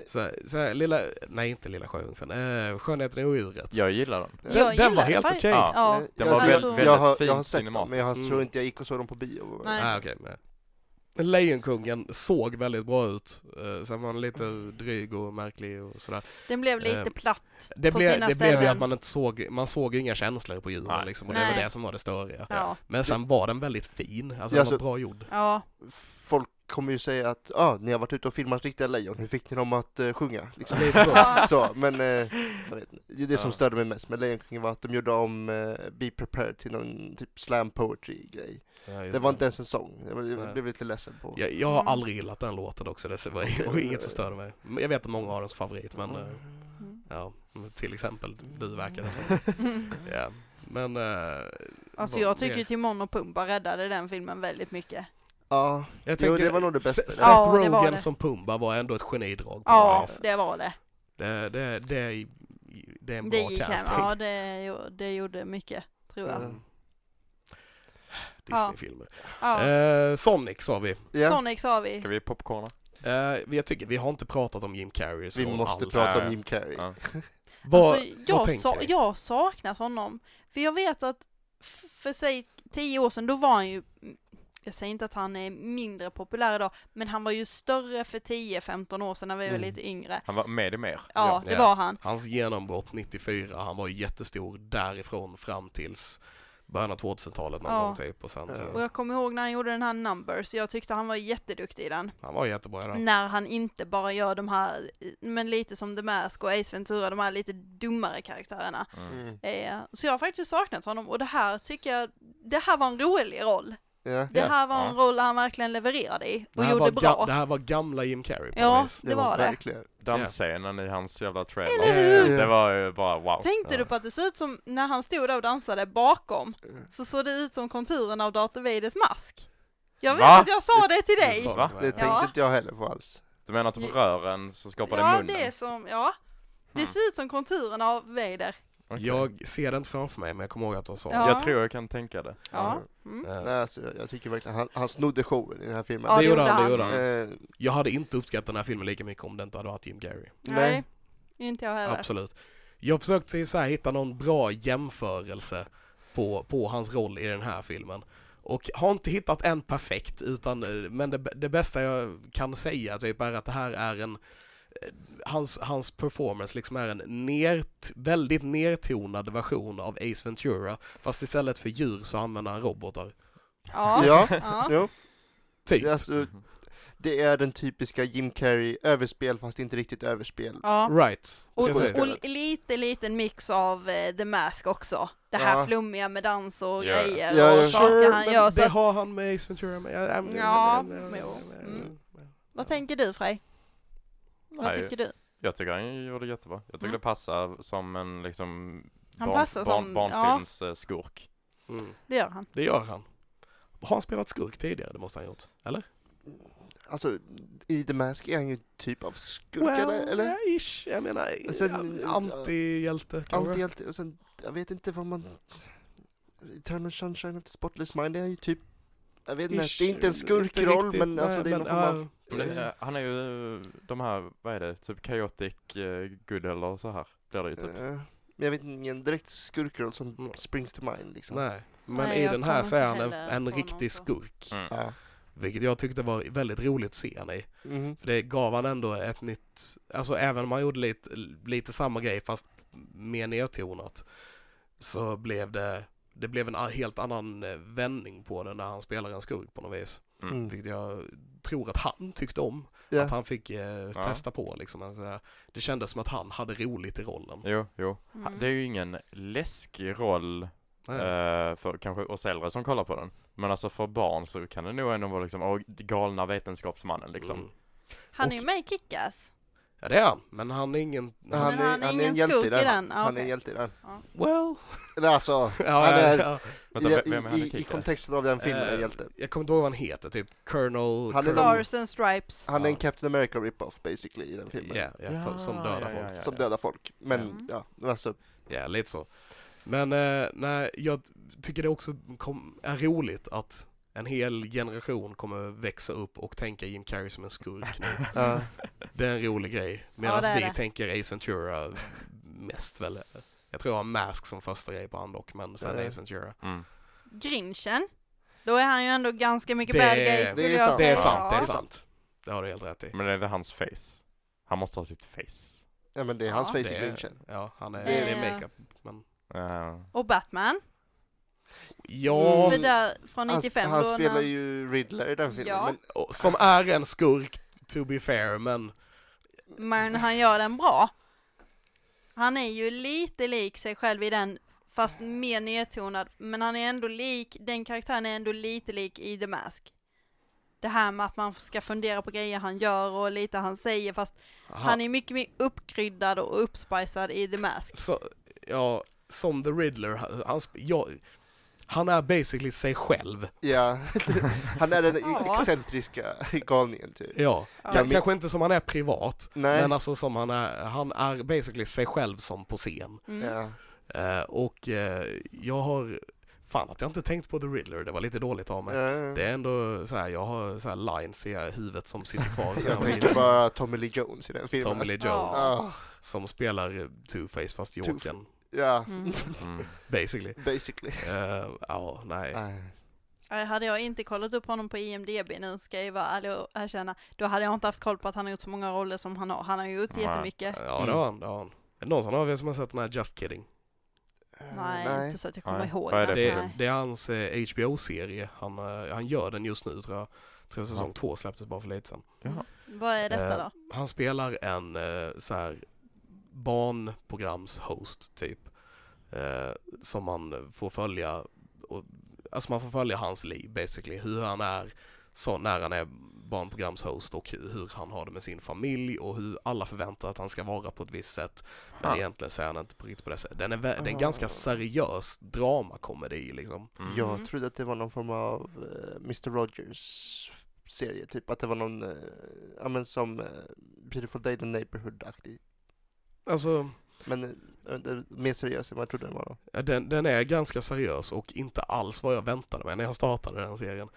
så, så här, lilla, nej inte Lilla Sjöjungfrun, eh, Skönheten och odjuret. Jag gillar den. Ja. Jag den var gillar helt färg- okej. Ja. Ja. Eh, Den jag- var väl- jag- väldigt jag har, jag har fint sett dem, men jag har- cinematiskt. tror inte jag gick och såg dem på bio. Nej. Ah, okej, nej. Men Lejonkungen såg väldigt bra ut, eh, sen var han lite dryg och märklig och sådär. Den blev lite Ehm, platt Det, på blev sina det ställen. blev ju att man inte såg, man såg ju inga känslor på djuren Nej. liksom, och det var Nej. det som var det störiga. ja. Men sen var den väldigt fin, alltså Ja, den så- var bra gjord. ja. Folk kommer ju säga att ah, ni har varit ute och filmat riktiga lejon, hur fick ni dem att eh, sjunga? Liksom. Lite så. Ja. så, men eh, jag vet inte. Det är det som Ja. störde mig mest med Lejonkungen var att de gjorde om eh, Be Prepared till någon typ slam poetry grej. Ja, just Det var inte ens en sång, jag blev- Nej. jag blev lite ledsen på. jag, jag har Mm. aldrig gillat den låten också, det var var inget som störde mig. Men Jag vet att många har den som favorit men eh, Mm. ja, till exempel du verkar det som. Mm. Ja, men... eh, Alltså vad jag tycker mer? ju Timon och Pumba räddade den filmen väldigt mycket. Ja, Jag Jo, det var nog det S- bästa. Seth Ja, det var Rogen det. som Pumba var ändå ett genidrag på Ja, något vis. det var det. Det, det, det, är, det är en Det bra gick hem. casting. Ja, det, gjo- det gjorde mycket, tror jag. Mm. Disney-filmer. Ja. Eh, Sonic sa vi. ja. Sonic sa vi. Ska vi popcorna? Eh, jag tycker vi har inte pratat om Jim Carreys vi roll måste alls. prata Ja. om Jim Carrey. Ja. Vad, alltså, vad jag, tänker sa, ni? jag har saknat honom. För jag vet att f- för sig tio år sedan, då var han ju, jag säger inte att han är mindre populär idag, men han var ju större för 10-15 år sedan när vi var Mm. lite yngre. Han var med i mer. Ja, det Ja. var han. Hans genombrott 94, han var ju jättestor därifrån fram tills början av 2000-talet någon Ja. gång typ och sen Ja. Och så, jag kommer ihåg när han gjorde den här Numbers, jag tyckte han var jätteduktig i den. han var jättebra då. När han inte bara gör de här, men lite som The Mask och Ace Ventura, de här lite dummare karaktärerna. Mm. Mm. Eh, så jag har faktiskt saknat honom och det här tycker jag, det här var en rolig roll. Ja. Det Ja, här var en ja. roll han verkligen levererade i och det, här gjorde var bra. ga- det här var gamla Jim Carrey på Ja. något vis. Det var det. verkligen. Dansscenen i hans jävla Ja, trailer. ja, ja. hur? Det var ju bara wow. Tänkte Ja. du på att det såg ut som, när han stod där och dansade bakom, så såg det ut som konturen av Darth Vaders mask? Jag vet Va? att jag sa det till Du dig! sa Va? till Det mig. tänkte Ja. inte jag heller på alls. Du menar att på rören så skapade Ja, munnen? det är som, ja. Det Mm. ser ut som konturen av Vader. Okej. Jag ser det inte framför mig men jag kommer ihåg att de sa Eh, Ja. Jag tror jag kan tänka det. Eh, Ja. Mm. det. Nej, alltså, jag, jag tycker verkligen han, han snodde showen i den här filmen. Ja, det det gjorde gjorde han, det han. gjorde han. Eh, Jag hade inte uppskattat den här filmen lika mycket om det inte hade varit Jim Carrey. Nej. Inte jag heller. Absolut. Jag försökte så här hitta någon bra jämförelse på, på hans roll i den här filmen. Och har inte hittat en perfekt, utan, eh, men det, det bästa jag kan säga typ är att det här är en eh, Hans, hans performance liksom är en nert, väldigt nertonad version av Ace Ventura fast istället för djur så använder han robotar. Ja. Ja. ja. Jo, Typ. alltså, Mhm. det är den typiska Jim Carrey, överspel fast inte riktigt överspel. ja. Right. Och, Ska jag säga. och lite liten mix av eh, The Mask också. Det här Ja. flummiga med dans och Ja, ja. grejer Ja, ja. och saker han men gör. Så det att, har han med Ace Ventura med. Ja, I'm- Ja, I'm- jo. Mm. Ja. vad tänker du Frej? Vad Nej, tycker du? Jag tycker han gjorde jättebra. Jag tycker Mm. det passar som en liksom Han barn, passar barn, som- barnfilms eh, skurk. Mm. Det gör han. Det gör han. Har han spelat skurk tidigare? Det måste han ha gjort. Eller? Alltså, i The Mask är han ju en typ av skurk, eller? Alltså, eller? eh, ish. Jag menar, Och sen- ja, antihjälte kanske. Antihjälte, och sen, jag vet inte vad man... Eternal Sunshine of the Spotless Mind, det är ju typ... Jag vet inte, Ish. det är inte en skurkroll, men alltså det är någon form ja. av... Och Mm. Det, eh, han är ju eh, de här, vad är det, typ chaotic eh, good eller så här blir det ju typ. eh, Men jag vet ingen direkt skurkroll som Mm. springs to mind liksom. Nej, men Nej, i jag den här kommer så är han inte en, heller en på någon riktig så. skurk. Mm. Ja. Vilket jag tyckte var väldigt roligt att se han i. Mhm. För det gav han ändå ett nytt, alltså även om han gjorde lite, lite samma grej fast mer nedtonat så blev det, det blev en a- helt annan eh, vändning på det när han spelar en skurk på något vis. Mm. Mm. Vilket jag tror att han tyckte om, Ja. att han fick eh, Ja. testa på liksom. Att, eh, Det kändes som att han hade roligt i rollen. Jo, jo. Ha- Mm. Det är ju ingen läskig roll Nej. eh, för kanske oss äldre som kollar på den. Men alltså för barn så kan det nog ändå vara liksom, åh, galna vetenskapsmannen liksom. Mm. Han är och- ju med i Kick-Ass. Ja det är han, men han är ingen, Men Han, Men han är, är han är ingen en hjälte skurk i i den. den. Ah, Han är okej. en hjälte i den. well. Eller alltså, Ja, Han ja, är- ja. Vänta, i, ve- vem är han i i, i Kick-Ass? kontexten av den filmen är Eh, hjälte. Jag kommer inte ihåg vad han heter, typ Colonel... Han är Colonel- någon- Stars and Stripes. Han är en ja. Captain America rip-off basically i den filmen. Ja, ja, för- som dödar folk. ja, Som ja. dödar folk. Men Mm. ja, alltså, Ja, lite så. Men eh, nej, jag t- tycker det också kom, är roligt att en hel generation kommer växa upp och tänka Jim Carrey som en skurk nu. ja. Det är en rolig grej. Medan det är vi det. tänker Ace Ventura mest väl. Jag tror jag har Mask som första grej på han dock, men sen Ja. Ace Ventura. Mm. Grinchen. Då är han ju ändå ganska mycket Det- bad guy skulle det är jag sant. Det är säga. sant, det är Ja. sant. Det har du helt rätt i. Men är det hans face? Han måste ha sitt face. ja men det är hans Ja. face Det i är, Grinchen. ja, han är, Eh. det är makeup. Men, Ja. Och Batman. ja, För där från Han, 95 han då när- spelar ju Riddler i den filmen. Ja. Men, och- som är en skurk to be fair, men Men han gör den bra. Han är ju lite lik sig själv i den, fast mer nedtonad. Men han är ändå lik, den karaktären är ändå lite lik i The Mask. Det här med att man ska fundera på grejer han gör och lite han säger, fast han är mycket mer uppkryddad och uppspicad i The Mask. så, ja, som The Riddler, han, han sp- ja, han är basically sig själv. ja. han är den Ja. excentriska galningen typ. Ja, Ja. K- kanske inte som han är privat, Nej. men alltså som han är, han är basically sig själv som på scen. Mm. ja. Eh, och eh, jag har, fan att jag inte tänkt på The Riddler, det var lite dåligt av mig. Ja. Oh Det är ändå så här, jag har så här lines i huvudet som sitter kvar. sen Jag jag var tänker liten. bara Tommy Lee Jones i den filmen. Tommy Lee alltså. Jones. Ah, som spelar eh, Two-Face fast Two-Face. Jokern, Ja, Mm. Mm. basically. basically. Eh, Ja, nej. Nej. Nej, Hade jag inte kollat upp honom på IMDB nu ska jag vara ärlig och erkänna, då hade jag inte haft koll på att han har gjort så många roller som han har. Han har ju gjort Nej. Ja, jättemycket. det har han, det har han. Är det någon av er som har sett den här Just Kidding? Eh, Nej, inte så att jag kommer Nej. ihåg. Vad är den. det för Det, Nej. det är hans eh, HBO-serie, han, eh, han gör den just nu tror jag. Tror jag säsong två släpptes bara för lite sedan. Jaha. Vad är detta Eh, då? Han spelar en eh, så här barnprogramshost typ. Eh, som man får följa, och, alltså man får följa hans liv basically. Hur han är så när han är barnprogramshost och hu- hur han har det med sin familj och hur alla förväntar att han ska vara på ett visst sätt. Men Ah. egentligen så är han inte på riktigt på det sättet. Den är, vä- det är en Ah. ganska seriös dramakomedi liksom. Mm. Jag Mm. trodde att det var någon form av eh, Mr Rogers serie, typ att det var någon, eh, ja men som eh, Beautiful Day in the Neighborhood-aktig. Alltså Men eh, eh, mer seriös än vad jag trodde den var då. Ja, Den, den är ganska seriös och inte alls vad jag väntade mig när jag startade den serien.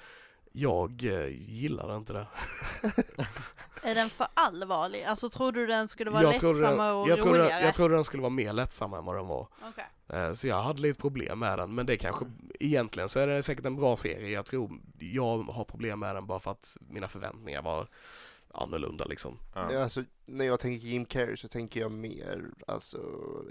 Jag eh, gillade inte det. Är den för allvarlig? Alltså tror du den skulle vara jag trodde den, lättsammare och jag, trodde, den- roligare? jag trodde den skulle vara mer lättsam än vad den var. Okej. Eh, Så jag hade lite problem med den, men det kanske, egentligen så är det säkert en bra serie. Jag tror jag har problem med den bara för att mina förväntningar var annorlunda liksom. Ja, Ja. Alltså, när jag tänker Jim Carrey så tänker jag mer alltså,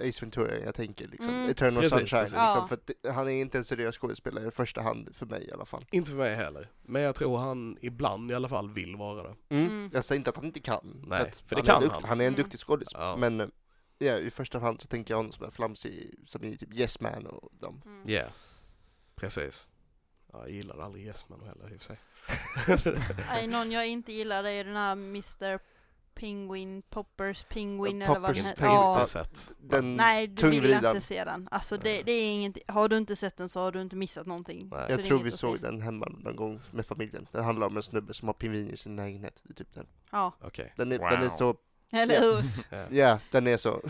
Ace Ventura än jag tänker liksom, Mm. Eternal Precis, Sunshine. precis. Liksom, Ja. för att det- han är inte en seriös skådespelare i första hand för mig i alla fall. Inte för mig heller, men jag tror han ibland i alla fall vill vara det. Mm. Mm. Jag säger inte att han inte kan. Nej, att för det han är kan dukt- han. Han är en Mm. duktig skådis. Ja. Men eh, ja, i första hand så tänker jag honom som en flamsig, som i typ Yes Man och dem. Mm. Ja, yeah. precis. Ja, jag gillade aldrig Yes Man heller i och för sig. Nej, någon jag inte gillar det är den här Mr Penguin, Poppers Penguin eller vad Poppers den Inte, heter. Penguin, inte Ja. sett. Den Nej, du vill tungvridan. inte se den. Alltså det, Nej. det är inget, har du inte sett den så har du inte missat någonting. Nej. Så det Jag är tror inget vi att såg se. den hemma någon gång med familjen. Den handlar om en snubbe som har pingviner i sin lägenhet. Det är Typ den. Ja, Okej. Den, är, den är Wow. så, eller Ja. hur? Ja. ja den är så.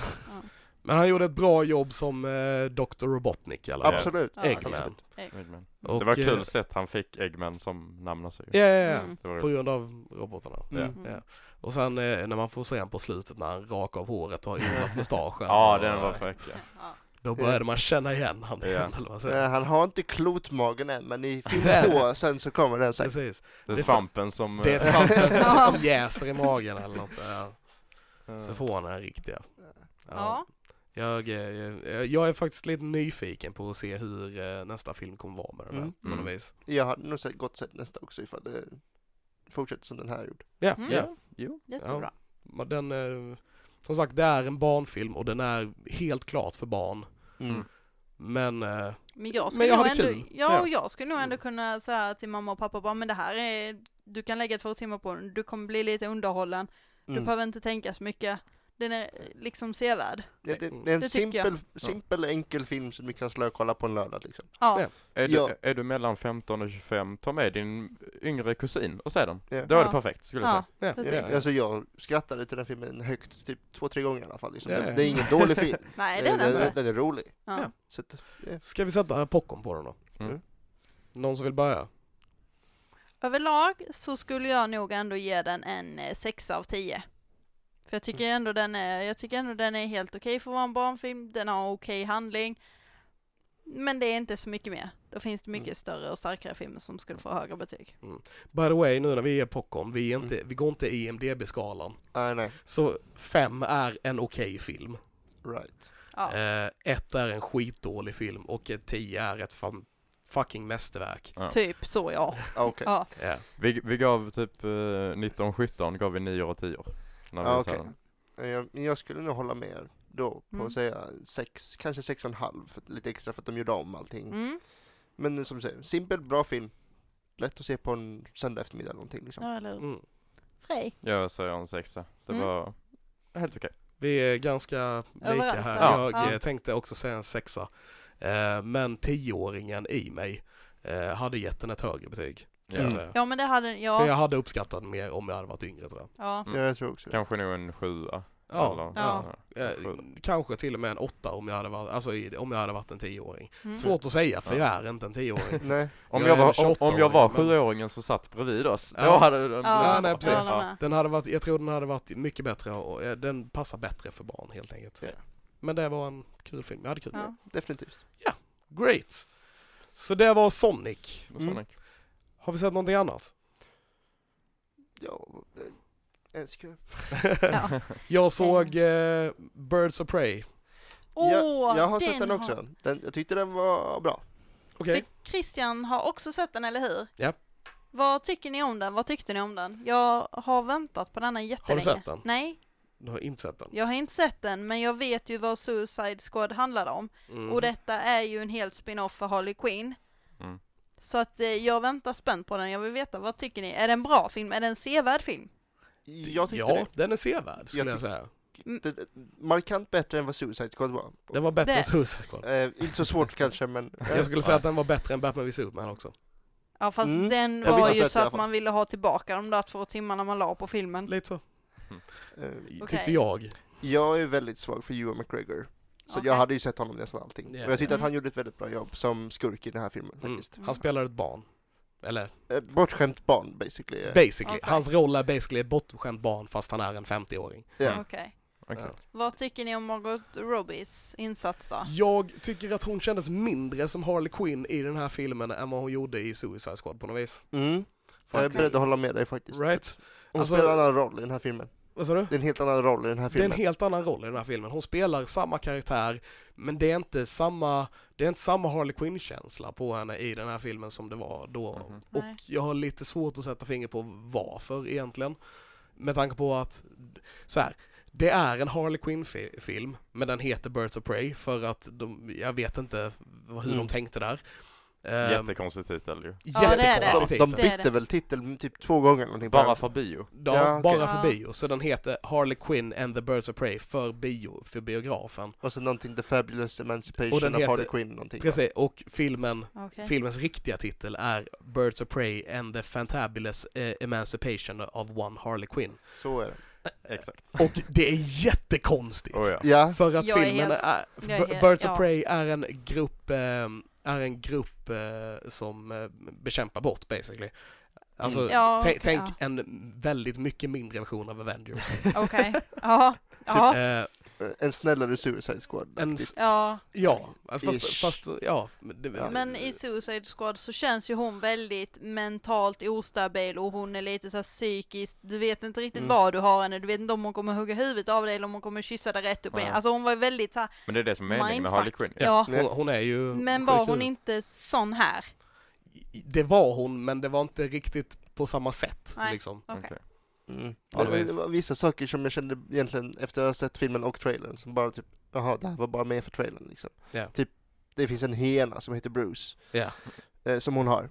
Men han gjorde ett bra jobb som eh, Dr. Robotnik i alla fall. Absolut. Ja, Eggman. absolut. Eggman. Och, det var eh, kul sätt han fick Eggman som namn alltså. Ja, ja, ja. Mm. Det var På roligt. grund av robotarna. Mm. Mm. Ja. Och sen eh, när man får se honom på slutet när han rakar av håret och har ylat mustaschen. Ja, och, den var fräck ja. Ja. Då började man känna igen han Ja. igen, eller vad säger Eh, jag? Han har inte klotmagen än, men i film Där. två sen så kommer den sen. Precis. Det Det är är svampen som... Det är eh, svampen som, Ja. som jäser i magen eller något. Ja. eh, Så får han den riktiga. Ja. Ja. Jag, eh, jag, jag är faktiskt lite nyfiken på att se hur eh, nästa film kommer vara med den här, Mm. på något Mm. vis. Jag har nog sett gott sett nästa också ifall det fortsätter som den här gjorde. Ja, Mm. ja. Jo. Jättebra. Men Den, eh, som sagt, det är en barnfilm och den är helt klart för barn. Mm. Mm. Men eh, Men jag Men skulle jag nog hade ändå, kul. Ja. Mm. ja, och jag skulle nog ändå kunna säga till mamma och pappa bara, men det här är, du kan lägga två timmar på den, du kommer bli lite underhållen, du Mm. behöver inte tänka så mycket, den är eh, liksom sevärd. Ja, det, det är en Det tycker jag. simpel, simpel enkel film som vi kan slå och kolla på en lördag liksom. Ja, Ja. Är, Ja. du, är du mellan 15 och 25, ta med din yngre kusin och se den. Ja. Då är det Ja. perfekt skulle jag ja, säga. ja, Precis. ja, ja. Alltså jag skrattade till den filmen högt, typ två, tre gånger i alla fall. Liksom. Ja, Det, ja. det är ingen dålig film. nej Eh, den är den, inte. den är rolig. Ja. Så att, Ska vi sätta popcorn på den då? Mm. Någon som vill börja? Överlag så skulle jag nog ändå ge den en eh, sexa av tio. För jag tycker ändå den är, jag tycker ändå den är helt okej för att vara en barnfilm, den har okej handling. Men det är inte så mycket mer. Då finns det mycket Mm. större och starkare filmer som skulle få högre betyg. By the way, nu när vi ger popcorn, vi, är inte, vi går inte i IMDB-skalan. nej, ah, nej, Så fem är en okej film. right. Ja. Eh, ett är en skitdålig film och ett tio är ett fan, fucking mästerverk. Ja. Typ så ja. Ah, Okej. ja. Ja. Vi, vi gav typ eh, 19-17, gav vi 9 och 10 när vi Ah, såg okej. den. Eh, Jag, men jag skulle nog hålla med er då på Mm. att säga sex, kanske sex och en halv, för, lite extra för att de gjorde om allting. Mm. Men som du säger, simpel, bra film. Lätt att se på en söndag eftermiddag eller någonting liksom. Ja, eller hur? Mm. Frej. Jag säger en sexa. Det Mm. var helt okej. Vi är ganska lika Överens här. där. Jag Ja. eh, tänkte också säga en sexa. Eh, men tioåringen i mig eh, hade gett den ett högre betyg. kan jag Mm. säga. Ja men det hade, För ja. jag hade uppskattat den mer om jag hade varit yngre tror jag. ja. Mm. Ja, jag tror också det. Kanske nog en sjua. Ja, Eller- Ja. eh, kanske till och med en åtta om jag hade varit, alltså i, om jag hade varit en tioåring. Mm. Svårt att säga för Ja. jag är inte en tioåring. Nej. Om Jag jag, är var, om, 28 om jag var år, men- sjuåringen som satt bredvid oss, då Ja. hade den blivit Ja, bra. nej, precis. Jag håller med. Den hade varit, jag tror den hade varit mycket bättre och eh, den passar bättre för barn helt enkelt. Ja. Men det var en kul film, jag hade kul. Ja. Definitivt. Great! Så det var Sonic. Då sa Mm. den, Har vi sett någonting annat? Ja, eh, älskar. Ja. Jag såg eh, Birds of Prey. Åh, jag, jag har sett den har- också. Den, jag tyckte den var bra. Okej. Fick- Christian har också sett den, eller hur? Ja. Vad tycker ni om den? Vad tyckte ni om den? Jag har väntat på denna jättelänge. sett den? Nej, Du har inte sett den? jag har inte sett den, men jag vet ju vad Suicide Squad handlar om. Mm. Och detta är ju en helt spin-off för Harley Quinn. Mm. Så att eh, jag väntar spänt på den, jag vill veta vad tycker ni? Är det en bra film? Är det en sevärd film? Jag tyckte ja, det. den är sevärd skulle jag, Jag säga. Mm. Det, det. Markant bättre än vad Suicide Squad var. Den var bättre Det- än Suicide Squad. Eh, inte så svårt kanske men... eh, Jag skulle säga att den var bättre än Batman vs Superman också. Ja fast Mm. den Jag var har ju sett så i alla att fall. man ville ha tillbaka de där två timmarna man la på filmen. Lite så, eh, tyckte jag. Mm. Jag är väldigt svag för Ewan McGregor. Så Okej. Mm. jag hade ju sett honom nästan allting. Ja, och jag tyckte ja. att han gjorde ett väldigt bra jobb som skurk i den här filmen Mm. faktiskt. Han spelar ett barn. Eller Eh, bortskämt barn basically. Eh, basically, Okej. hans roll är basically ett bortskämt barn fast han är en 50-åring. ja. Okej. okej. Ja. Vad tycker ni om Margot Robbies insats då? Jag tycker att hon kändes mindre som Harley Quinn i den här filmen än vad hon gjorde i Suicide Squad på något vis. Mm. Jag är Faktiskt. beredd att hålla med dig faktiskt. Right? Hon Alltså- spelar en annan roll i den här filmen. Vad sa du? Det är en helt annan roll i den här Det är en filmen. helt annan roll i den här filmen. Hon spelar samma karaktär, men det är inte samma, det är inte samma Harley Quinn-känsla på henne i den här filmen som det var då. Mhm. Och Nej. jag har lite svårt att sätta finger på varför egentligen. Med tanke på att, så här, det är en Harley Quinn-film, men den heter Birds of Prey för att de, jag vet inte vad- hur de Mm. tänkte där. Ehm, Jättekonstig titel ju. Ja, det är det. jättekonstig De titel. Det är det. bytte väl titel typ två gånger någonting. på Bara den. för bio. Ja, Ja, okej. bara för Ja. bio. Så den heter Harley Quinn and the Birds of Prey för bio, för biografen. Och sen någonting The Fabulous Emancipation Och den of heter- Harley Quinn någonting. va? Precis, och filmen, Okej. filmens riktiga titel är Birds of Prey and the Fantabulous eh, Emancipation of One Harley Quinn. Så är det. Exakt. Och det är jättekonstigt! Oh, ja. Ja, För att Jag är filmen helt- är, jag är helt- Birds ja. of Prey är en grupp, eh, är en grupp eh, som eh, bekämpar brott basically. Alltså, Mm. Ja, tä- okej, tänk ja. en väldigt mycket mindre version av Avengers. Okej. Ja. Ja. Eh, eh, en snällare Suicide Squad. Typ. en, riktigt. Ja. Ja, fast, Ish. fast ja. Det, Ja. Men i Suicide Squad så känns ju hon väldigt mentalt ostabil och hon är lite så här psykiskt, du vet inte riktigt Mm. vad du har henne, du vet inte om hon kommer hugga huvudet av dig eller om hon kommer kyssa dig rätt upp och ner. Nej. Alltså hon var ju väldigt så här, Men det är det som är meningen med Harley Mindfuck. Quinn. ja. hon, hon är ju Men sjuk var Mm. i hon huvudet. inte sån här? Det var hon, men det var inte riktigt på samma sätt Nej. liksom. Okej. Okej. Mm. Ja, det Det, var- det var vissa saker som jag kände egentligen efter att ha sett filmen och trailern som bara typ, jaha det här var bara med för trailern liksom. Ja. Typ, det finns en hena som heter Bruce, Ja. eh, som hon har.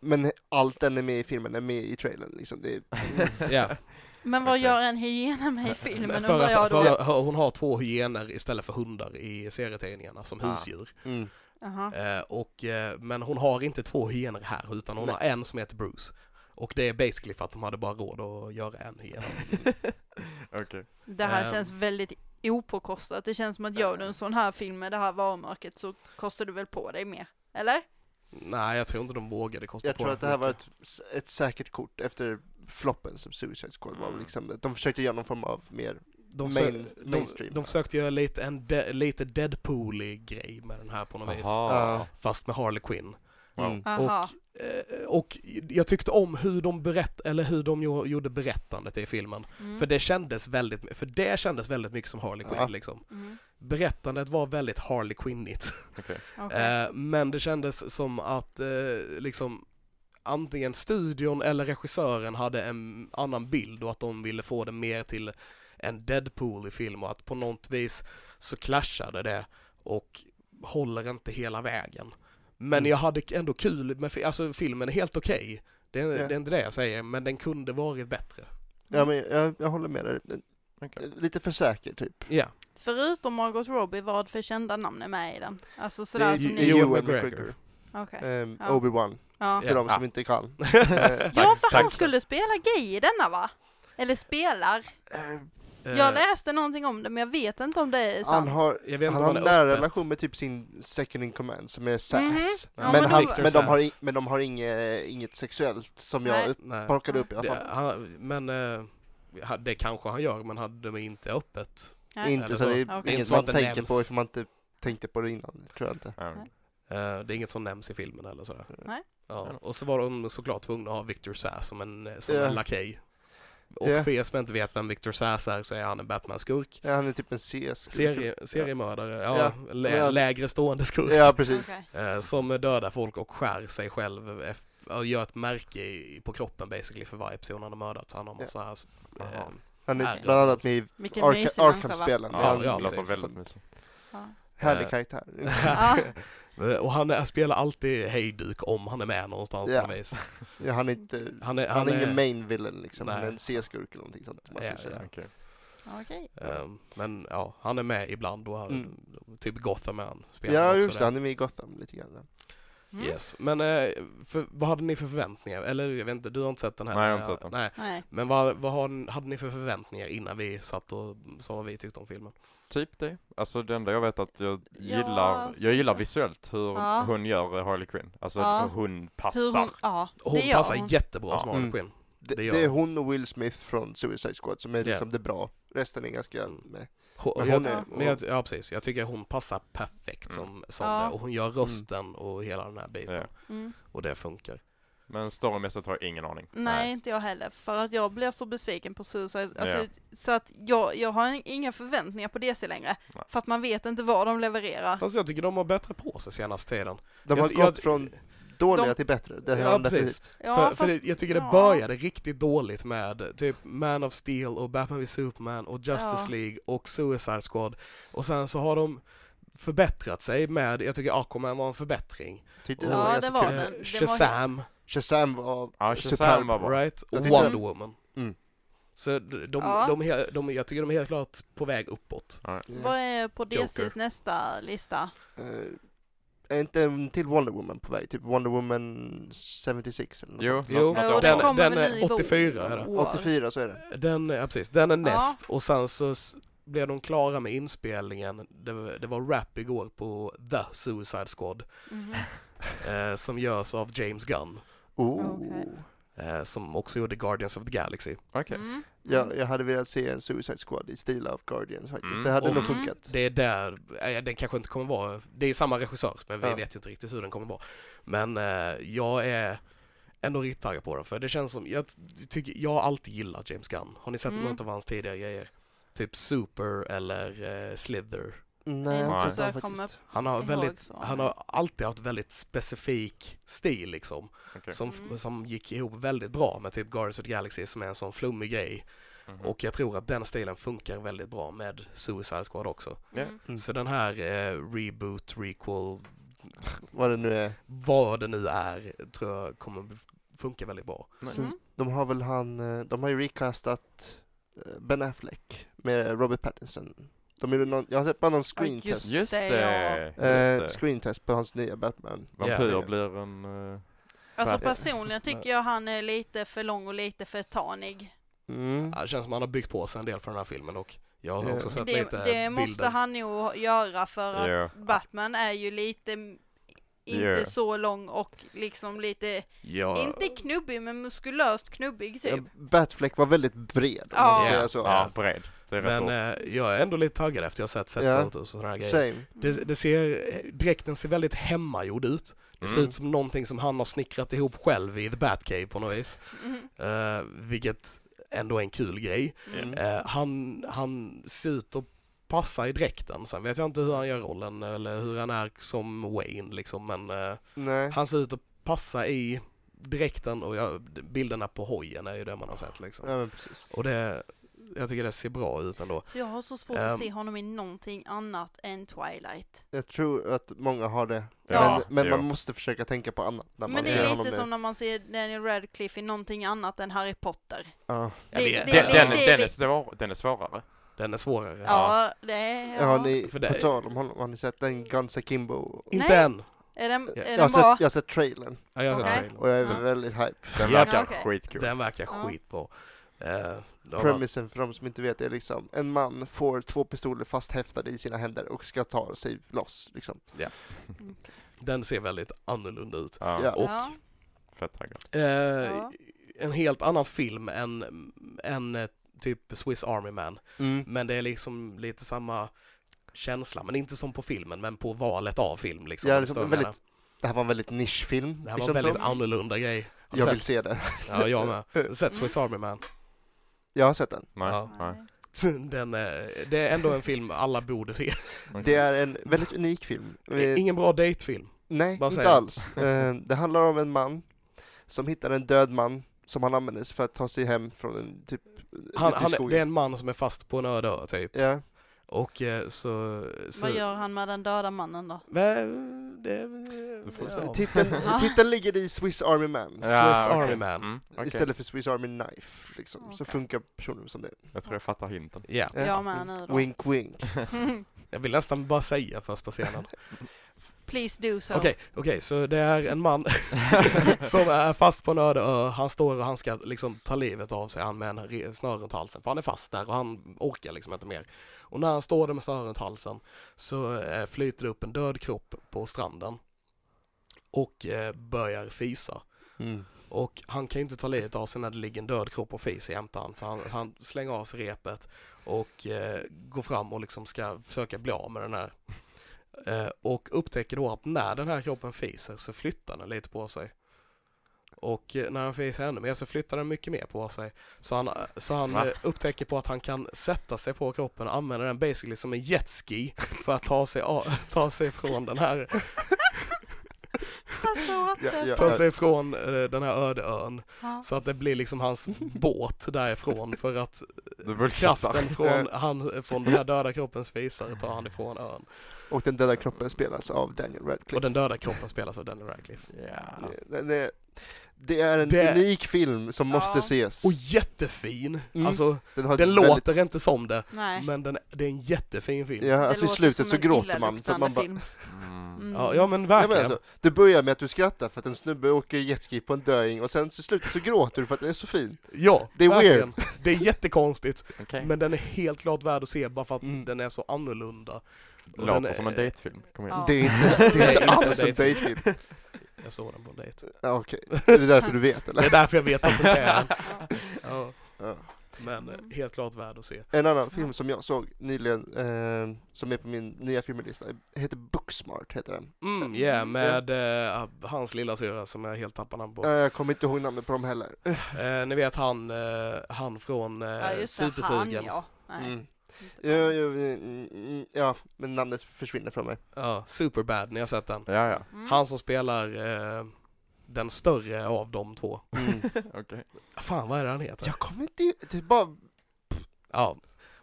Men allt den är med i filmen är med i trailern liksom. Det är, Ja. Men vad Okej. gör en hyena med i filmen för undrar jag att, då? för att hon har två hyenor istället för hundar i serietidningarna som Ah. husdjur. mm. Jaha. Eh, och, eh, men hon har inte två hyenor här, utan hon Nej. har en som heter Bruce. Och det är basically för att de hade bara råd att göra en hyena. Okej. Det här Ehm. känns väldigt opåkostat. Det känns som att gör du en sån här film med det här varumärket så kostar du väl på dig mer? Eller? Nej, jag tror inte de vågade kosta Jag på tror den att för det här var mycket. ett, ett säkert kort efter floppen som Suicide Squad var Mm. liksom. De försökte göra någon form av mer, de, main- sö- de, mainstream. de försökte göra lite, en de, lite Deadpoolig grej med den här på något vis. Jaha. Fast med Harley Quinn. Ah, Wow. mm. Aha. Eh, och jag tyckte om hur de berätt, eller hur de gjo- gjorde berättandet i filmen. Mm. För det kändes väldigt, för det kändes väldigt mycket som Harley Quinn Ja. liksom. Mm. Berättandet var väldigt Harley Quinnigt. Okej. Okej. Eh, men det kändes som att eh, liksom antingen studion eller regissören hade en annan bild och att de ville få det mer till en Deadpool i film och att på något vis så clashade det och håller inte hela vägen. Men Mm. jag hade ändå kul med fi- alltså filmen är helt okej. Det, är- Ja. det är inte det jag säger, men den kunde varit bättre. Ja men jag, jag håller med dig. Okej. Lite för säker typ. Ja. Förutom Margot Robbie, vad för kända namn är med i den? Alltså Det sådär är som ju- ni... Ewan Ewan McGregor. McGregor. Okej. Ehm, Ja. Obi-Wan, Ja. för Ja. de som Ah. inte kan. Eh, ja, för tack han så- skulle spela gay i denna va? Eller spelar? Eh, Jag läste någonting om det men jag vet inte om det är Han sant. har, jag vet han inte har om en det är nära öppet. relation med typ sin second in command som är Sass. Mhm. Ja, Men, men då- han, Victor men, de har, Sass. i- men de har inget, inget sexuellt som jag Nej. upp, Nej. plockade upp i alla Det, fall. han, men eh, ha- det kanske han gör, men hade det inte öppet. Nej. Inte Eller så så. Okej. det är Det är inget inte så att man det tänker nämns. på eftersom man inte tänkte på det innan, tror jag inte. Mm. Eh, det är inget som nämns i filmen eller sådär. Nej. Ja. Och så var de såklart tvungna att ha Victor Sass som en, eh, som Ja. en lakej. Och Ja. för er som inte vet vem Victor Sass är så är han en Batman-skurk. Ja, han är typ en CS. Serie, seriemördare, ja, Ja. Lä, Ja. lägre stående skurk. Ja, precis. Okej. Eh, som dödar folk och skär sig själv eff- och gör ett märke i, på kroppen basically för varje person han har mördat. Så han har Ja. massa eh, Jaha. Han Ja. är bland annat med i Vilken mysig Arca- människa va? Arkham-spelen. Ja, Det är han- ja, det låter precis. Liksom väldigt mysigt. Ja. Härlig Eh. karaktär. Ja. Och han är, spelar alltid hejduk om han är med någonstans Ja. på något vis. Ja, han är inte... Han är, han Han är ingen är- main villain liksom, Nej. men en C-skurk eller någonting sånt. Man Ja, ska säga. Okej. Okej. ehm, men ja, han är med ibland och han, Mm. typ Gotham är han. Ja, spelar också just det, där. han är med i Gotham lite grann. Mm. Yes. Men eh, för, vad hade ni för förväntningar? Eller jag vet inte, du har inte sett den här? Nej, jag har inte sett den. Nej. Nej. Men vad, vad har, ni- hade ni för förväntningar innan vi satt och sa vad vi tyckte om filmen? Typ det. Alltså det enda jag vet att jag Ja, gillar, alltså. jag gillar visuellt hur Ja. hon gör eh, Harley Quinn. Alltså Ja. hur hon Hur passar. hon, ja, Hon det gör passar hon. jättebra Ja. som Harley Mm. Quinn. Det, Det gör det är han. hon och Will Smith från Suicide Squad som är Ja. liksom det bra. Resten är ganska... Mm. Med. Hon, Men jag, hon är- men jag, ja, precis. Jag tycker hon passar perfekt Mm. som, som Ja. det. Och hon gör Mm. rösten och hela den här biten. Ja. Mm. Och det funkar. Men storymässigt har jag ingen aning. Nej, Nej. inte jag heller. För att jag blev så besviken på Suicide. Alltså, Ja. Så att jag, jag har inga förväntningar på DC längre. Nej. För att man vet inte vad de levererar. Fast jag tycker de har bättre på sig senaste tiden. De har jag, jag, gått från dåliga De- till bättre. Det har Ja, de precis. definitivt. Ja, för, fast, för det, jag tycker det ja. började riktigt dåligt med typ Man of Steel och Batman vs Superman och Justice Ja. League och Suicide Squad. Och sen så har de förbättrat sig med, jag tycker Aquaman var en förbättring. Tyckte Ja, den var det ganska var kul. den. Eh, var- Shazam, Shazam var... Ja, Superb, Shazam var bra. right? Och Jag tyckte- Wonder Woman. Mm. Så de, de, Ja. de, he- de, jag tycker de är helt klart på väg uppåt. Vad är på DCs Joker. nästa lista? Eh, är inte en till Wonder Woman på väg? Typ Wonder Woman 76 eller något Jo, sånt. Jo, något Ja, åt och det den, den hållet. kommer den väl är i vår- 84 är det. år. 84 så är det. Den, ja precis, den är Ja. näst och sen så s- blev de klara med inspelningen. Det, var- det var rap igår på The Suicide Squad Mhm. eh, som görs av James Gunn Oh. Okej. eh, som också gjorde Guardians of the Galaxy. Okej. Mm. Ja, jag hade velat se en Suicide Squad i stil av Guardians faktiskt. Mm. Det hade Och- nog funkat. Det är där, eh, den kanske inte kommer vara, det är samma regissör men vi Ja. vet ju inte riktigt hur den kommer vara. Men eh, jag är ändå riktigt taggad på den för det känns som, jag t- tycker, jag har alltid gillat James Gunn. Har ni sett Mm. något av hans tidigare grejer? Typ Super eller eh, Slither? Nej, jag har Nej. inte sett den Jag Mm. kommer- faktiskt. Han har, ihåg väldigt, så. han har alltid haft väldigt specifik stil liksom. Okej. Som, Mm. som gick ihop väldigt bra med typ Guardians of the Galaxy som är en sån flummig grej. Mhm. Och jag tror att den stilen funkar väldigt bra med Suicide Squad också. Ja. Mm. Mm. Så den här eh, reboot, requel, Vad det nu är. vad det nu är, tror jag kommer funka väldigt bra. Mm. Sen, Mm. de har väl han, eh, de har ju recastat eh, Ben Affleck med Robert Pattinson. De gjorde någon, jag har sett bara någon screen Ja, test. Just Det, det! ja. Just Eh, det. screen test på hans nya Batman. Vampyr Ja. blir en... eh, Alltså Verkligen. personligen tycker jag han är lite för lång och lite för tanig. Mm. Ja, det känns som att han har byggt på sig en del för den här filmen och jag har Ja. också sett Det, lite det måste bilder. han nog göra för att ja. Batman är ju lite m- inte Ja. så lång och liksom lite, Ja. inte knubbig men muskulöst knubbig Ja, typ. Batfleck var väldigt bred om Ja. man får säga så. ja, bred. Det är rätt Men ord. eh, jag är ändå lite taggad efter jag har sett, sett Ja. fotos och sådana här grejer. Same. Det, Mhm. det ser, dräkten ser väldigt hemmagjord ut. Det ser Mm. ut som någonting som han har snickrat ihop själv i The Batcave på något vis. Mm. Eh, vilket ändå är en kul grej. Mm. Mm. Eh, han, han ser ut att passa i dräkten. Sen vet jag inte hur han gör rollen eller hur han är som Wayne liksom. Men eh, Nej. han ser ut att passa i dräkten och jag, bilderna på hojen är ju det man har sett liksom. Ja, men precis. Och det, jag tycker det ser bra ut ändå. Så jag har så svårt Ehm. att se honom i någonting annat än Twilight. Jag tror att många har det. Ja. men men jo. man måste försöka tänka på annat när man Men det ser är honom lite i- som när man ser Daniel Radcliffe i någonting annat än Harry Potter. Ja. Jag Det- vet. det- Den, det- den, det- den, är svår, den är svårare. Den är svårare. Ja, det är... Har Ja. ni, För på det- tal om honom, har ni sett den Guns Akimbo? Inte Nej. än! Är den, Jag- är Jag har, den sett, bra? jag har sett trailern Ja, jag har sett Okej. trailern. och jag är Ja. väldigt hype. Den Ja. verkar Okej. skitcool. Den verkar Ja. skitbra. Eh, Det har varit- Premisen för de som inte vet är liksom en man får två pistoler fasthäftade i sina händer och ska ta sig loss liksom. Den ser väldigt annorlunda ut. Ja, Ja. Och Ja. fett taggad. eh, Ja. en helt annan film än, än eh, typ Swiss Army Man. Men det är liksom lite samma känsla, men inte som på filmen, men på valet av film liksom. Ja, om du liksom förstår vad jag väldigt- Det här var en väldigt nischfilm. menar. Det här var liksom en väldigt så. annorlunda grej. Har du Jag sett? vill se den. Ja, jag med. Har du Sett Mm. Swiss Army Man. Jag har sett den. Nej, Ja. nej. Den är, det är ändå en film alla borde se. okej. Det är en väldigt unik film. Eh, Ingen bra datefilm. Nej, Bara inte säga. alls. Eh, det handlar om en man som hittar en död man som han använder för att ta sig hem från en typ Han, ute i han, är- det är skogen. en man som är fast på en öde ö typ. Ja, Och eh, så... så Vad gör han med den döda mannen då? Men, det, Du får ja. se. titeln, Ja. titeln ligger i Swiss Army Man. Ja, Swiss okej. Army Man. Mm, okej. Istället för Swiss Army Knife, liksom. Så Okej. funkar personen som det. Jag tror jag fattar hinten. Ja. Ja. Jag med nu då. Wink wink. Jag vill nästan bara säga första scenen. Please do so. Okej, okej, så det är en man som är fast på en öde ö. Han står och han ska liksom ta livet av sig, han med en re- snöre runt halsen, för han är fast där och han orkar liksom inte mer. Och när han står där med snöret runt halsen så eh, flyter det upp en död kropp på stranden och eh, börjar fisa. Mm. Och han kan ju inte ta livet av sig när det ligger en död kropp och fiser jämte han, för han, han slänger av sig repet och eh, går fram och liksom ska försöka bli av med den här. Eh, och upptäcker då att när den här kroppen fiser så flyttar den lite på sig. Och eh, när han fiser ännu mer så flyttar den mycket mer på sig. Så han, så han Va? eh, upptäcker på att han kan sätta sig på kroppen och använda den basically som en jetski för att ta sig, av, ta sig från den här Alltså, what the... Ja, ja. ta sig från eh, den här öde ön. Ja. Så att det blir liksom hans båt därifrån för att Du borde kraften från, Eh. han, från den här döda kroppens visare tar han ifrån ön. Och den döda kroppen spelas av Daniel Radcliffe. Och den döda kroppen spelas av Daniel Radcliffe. Ja. Det- det- Det är en Det- unik film som måste Ja. ses. Och jättefin! Mm. Alltså, den har ett den väldigt- låter inte som det, Nej. men den, det är en jättefin film. Ja, alltså i slutet så gråter man. För att man bara, Mm. Mm. Ja, ja men ja, men verkligen. alltså, det börjar med att du skrattar för att en snubbe åker jetski på en döing och sen i slutet så gråter du för att det är så fint. ja, det är verkligen. Det är jättekonstigt, Okej. men den är helt klart värd att se bara för att Mm. den är så annorlunda. Och Låter den är- som en dejtfilm. Kom igen. Ja. Det är inte, det är inte inte alls en dejt. datefilm. Jag såg den på en dejt. Ja, okej. Är det därför du vet Det eller? är därför jag vet att det är den. ja, Ja. Men eh, helt klart värd att se. En annan film som jag såg nyligen, eh, som är på min nya filmlista, heter Booksmart, heter den. Mm, yeah, med eh, hans lilla syra som jag helt tappar namn på. Eh, jag kommer inte ihåg namnet på dem heller. Eh, ni vet han, eh, han från eh, Ja, just det. Han, Supersugen. ja. Nej. Mm. inte Ja, han. ja, mm, mm, ja, men namnet försvinner från mig. Ja, Superbad, ni har sett den. Ja, ja. Mm. Han som spelar eh, den större av de två. Okej. Fan vad är det han heter? Jag kommer inte ihåg- det är bara, Ja,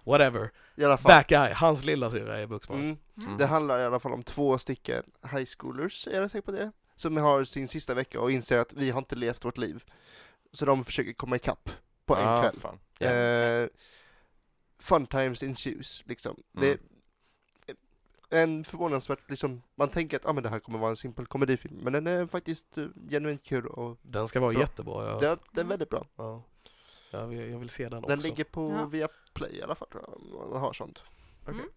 whatever. i alla fall. Bad guy, hans lilla syra är Buxman. Mm. Mm. Det handlar i alla fall om två stycken high schoolers, är jag säker på det? Som har sin sista vecka och inser att vi har inte levt vårt liv. Så de försöker komma ikapp på en Ah, kväll. fan. Ja. Eh, fun times ensues, liksom. Mm. Det är en förvånansvärt, liksom, man tänker att ah, men det här kommer vara en simpel komedifilm, men den är faktiskt eh, genuint kul och Den ska vara Bra. jättebra. Jag, den, den är väldigt bra. ja. jag, vill, jag vill se den, Den också. ligger på Ja. Viaplay i alla fall, tror jag, om man har sånt. Mm,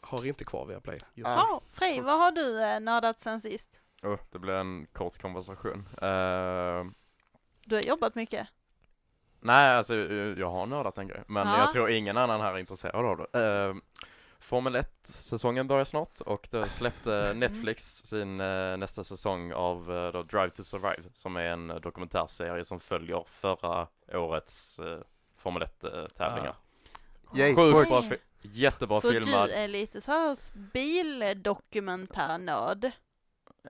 har inte kvar Viaplay just nu. Ah. Ja, Frej, vad har du eh, nördat sen sist? Oh, det blev en kort konversation. Eh, Du har jobbat mycket. nej, alltså eh, jag har nördat en grej, men Ja. jag tror ingen annan här är intresserad av det. Eh, Formel 1-säsongen börjar snart och då Mm. släppte Netflix sin eh, nästa säsong av eh, då Drive to Survive, som är en eh, dokumentärserie som följer förra årets eh, Formel 1-tävlingar. Yay, Sjukt sports. bra, fi- jättebra så filmad. du är lite så här bildokumentärnörd.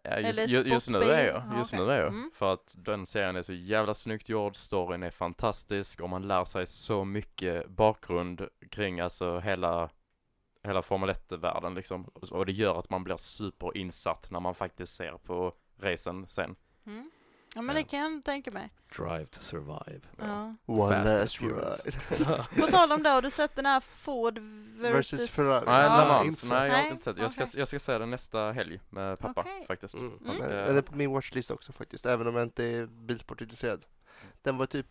Ja, just, Eller ju- just nu sportbil. är jag, Ja, just okej. nu är jag. Mm. För att den serien är så jävla snyggt gjord, storyn är fantastisk och man lär sig så mycket bakgrund kring alltså hela, hela Formel 1-världen liksom. Och- Och det gör att man blir superinsatt när man faktiskt ser på racen sen. Mm. Ja, men det Ja. kan jag tänka mig. Drive to survive. Ja. Ja. One Fast and last Furious. ride. På tal om det, har du sett den här Ford versus... Versus Ferrari. Nej, Ja. den har- Inte nej, jag har sett. inte sett. Jag ska, Okej. jag ska se den nästa helg med pappa Okej. faktiskt. Mm. Han Den ska- den är på min watchlist också faktiskt, även om jag inte är bilsportintresserad. Den var typ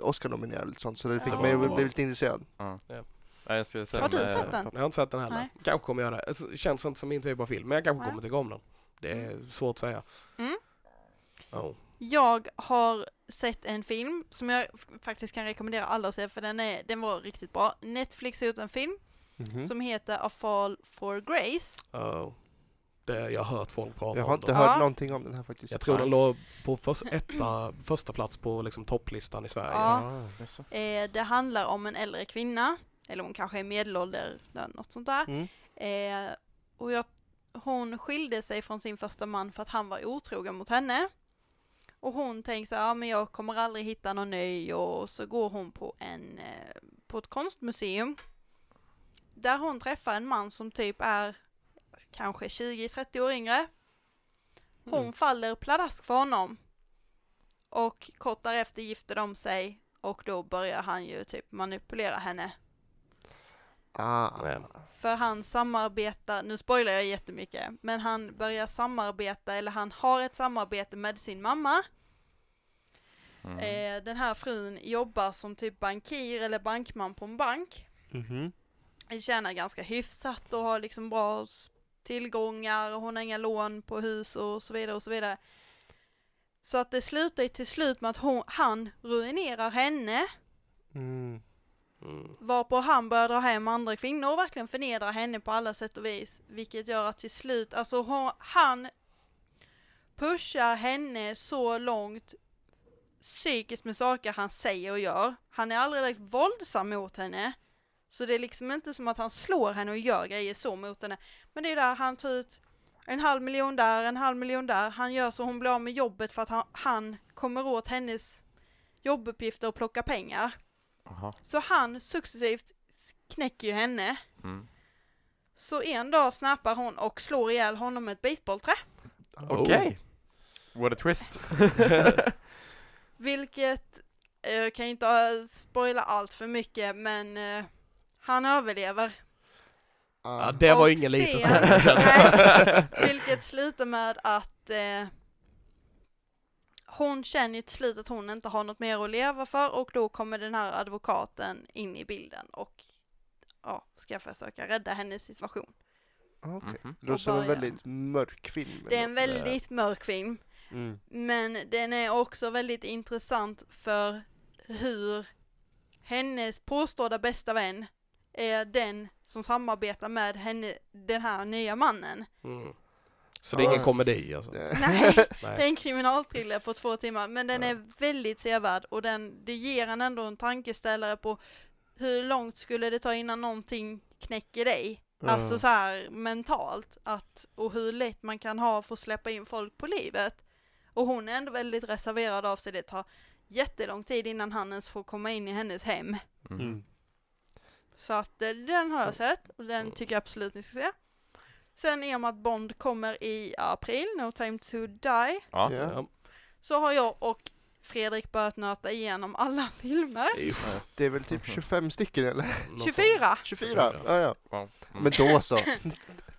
Oscar-nominerad eller sånt, så det fick Ja. mig att Vad- bli lite intresserad. Nej, jag ska säga Har den du är- sett den? Jag har inte sett den heller. Nej. Kanske kommer jag göra det. Alltså, Känns inte som min typ av film, men jag kanske Nej. kommer tycka om den. Det är svårt att säga. Oh, Mm. Ja. Jag har sett en film som jag f- faktiskt kan rekommendera alla att se för den, är, den var riktigt bra. Netflix har gjort en film Mhm. som heter A Fall for Grace. Ja. oh. det, jag har hört folk prata Jag har om inte den. hört Ja. någonting om den här faktiskt. Jag tror den låg på först, etta, första plats på liksom, topplistan i Sverige. Ja. Jaså? Eh, det handlar om en äldre kvinna, eller hon kanske är medelålder, eller något sånt där. Mm. Eh, och jag, hon skilde sig från sin första man för att han var otrogen mot henne. Och hon tänker så här, ja men jag kommer aldrig hitta någon ny och så går hon på en, eh, på ett konstmuseum. Där hon träffar en man som typ är kanske 20-30 år yngre. Hon faller pladask för honom. Och kort därefter gifter de sig och då börjar han ju typ manipulera henne. Ah. Nej. För han samarbetar, nu spoilar jag jättemycket, men han börjar samarbeta, eller han har ett samarbete med sin mamma. Mm. Eh, den här frun jobbar som typ bankir eller bankman på en bank. Mhm. Tjänar ganska hyfsat och har liksom bra s- tillgångar, och hon har inga lån på hus och så vidare och så vidare. Så att det slutar ju till slut med att hon, han ruinerar henne Mm. Mm. Varpå han börjar dra hem andra kvinnor och verkligen förnedra henne på alla sätt och vis. Vilket gör att till slut, alltså hon, han pushar henne så långt psykiskt med saker han säger och gör. Han är aldrig direkt våldsam mot henne. Så det är liksom inte som att han slår henne och gör grejer så mot henne. Men det är där han tar ut en halv miljon där, en halv miljon där. Han gör så hon blir av med jobbet för att han, han kommer åt hennes jobbuppgifter och plockar pengar. Jaha. Så han successivt knäcker ju henne. Mm. Så en dag snappar hon och slår ihjäl honom med ett basebollträ. Ah. Oh. Okej! What a twist! Vilket, eh, jag kan ju inte eh, spoila allt för mycket men eh, han överlever. Ja, Ah. det var Och ju ingen liten sen- smäll. Nej, Vilket slutar med att eh, hon känner ju till slut att hon inte har något mer att leva för och då kommer den här advokaten in i bilden och ja, ska försöka rädda hennes situation. Ah, Okej. Mhm. Det låter som en börja. väldigt mörk film. Det är en ändå. väldigt mörk film, Mm. men den är också väldigt intressant för hur hennes påstådda bästa vän är den som samarbetar med henne, den här nya mannen. Mm. Så det är ingen Ah. Ja. komedi eh, alltså? Nej, det är Nej. en kriminalthriller på två timmar, men den är väldigt sevärd och den, det ger en ändå en tankeställare på hur långt skulle det ta innan någonting knäcker dig? Mm. Alltså så här mentalt, att, och hur lätt man kan ha för att släppa in folk på livet. Och hon är ändå väldigt reserverad av sig, det tar jättelång tid innan han ens får komma in i hennes hem. Mm. Mm. Så att eh, den har jag sett, och den tycker jag absolut ni ska se. Sen i och med att Bond kommer i april, No Time To Die, Ja. Ja. Ja. så har jag och Fredrik börjat nöta igenom alla filmer. Uff, Det är väl Mm. typ 25 stycken eller? något sånt. 24! 24? Ja, ja. Wow. Mm. Men då så.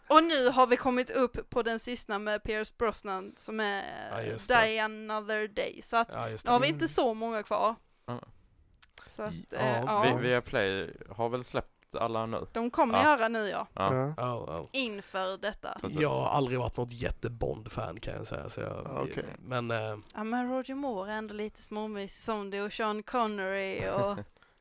Och nu har vi kommit upp på den sista med Pierce Brosnan som är Ja, just det. Die Another Day. Så att Ja, just nu det. har vi Mm. inte så många kvar. Ja. Så att, Ja, eh, ja. Vi, via Play har väl släppt alla nu? De kommer Ja. göra nu ja, Ja. Ja. Mm. Ja, ja. inför detta. Precis. Jag har aldrig varit något jättebond-fan kan jag säga. Så jag, Ja, Ah, okej. Men eh, Ja men Roger Moore är ändå lite småmysig som det och Sean Connery och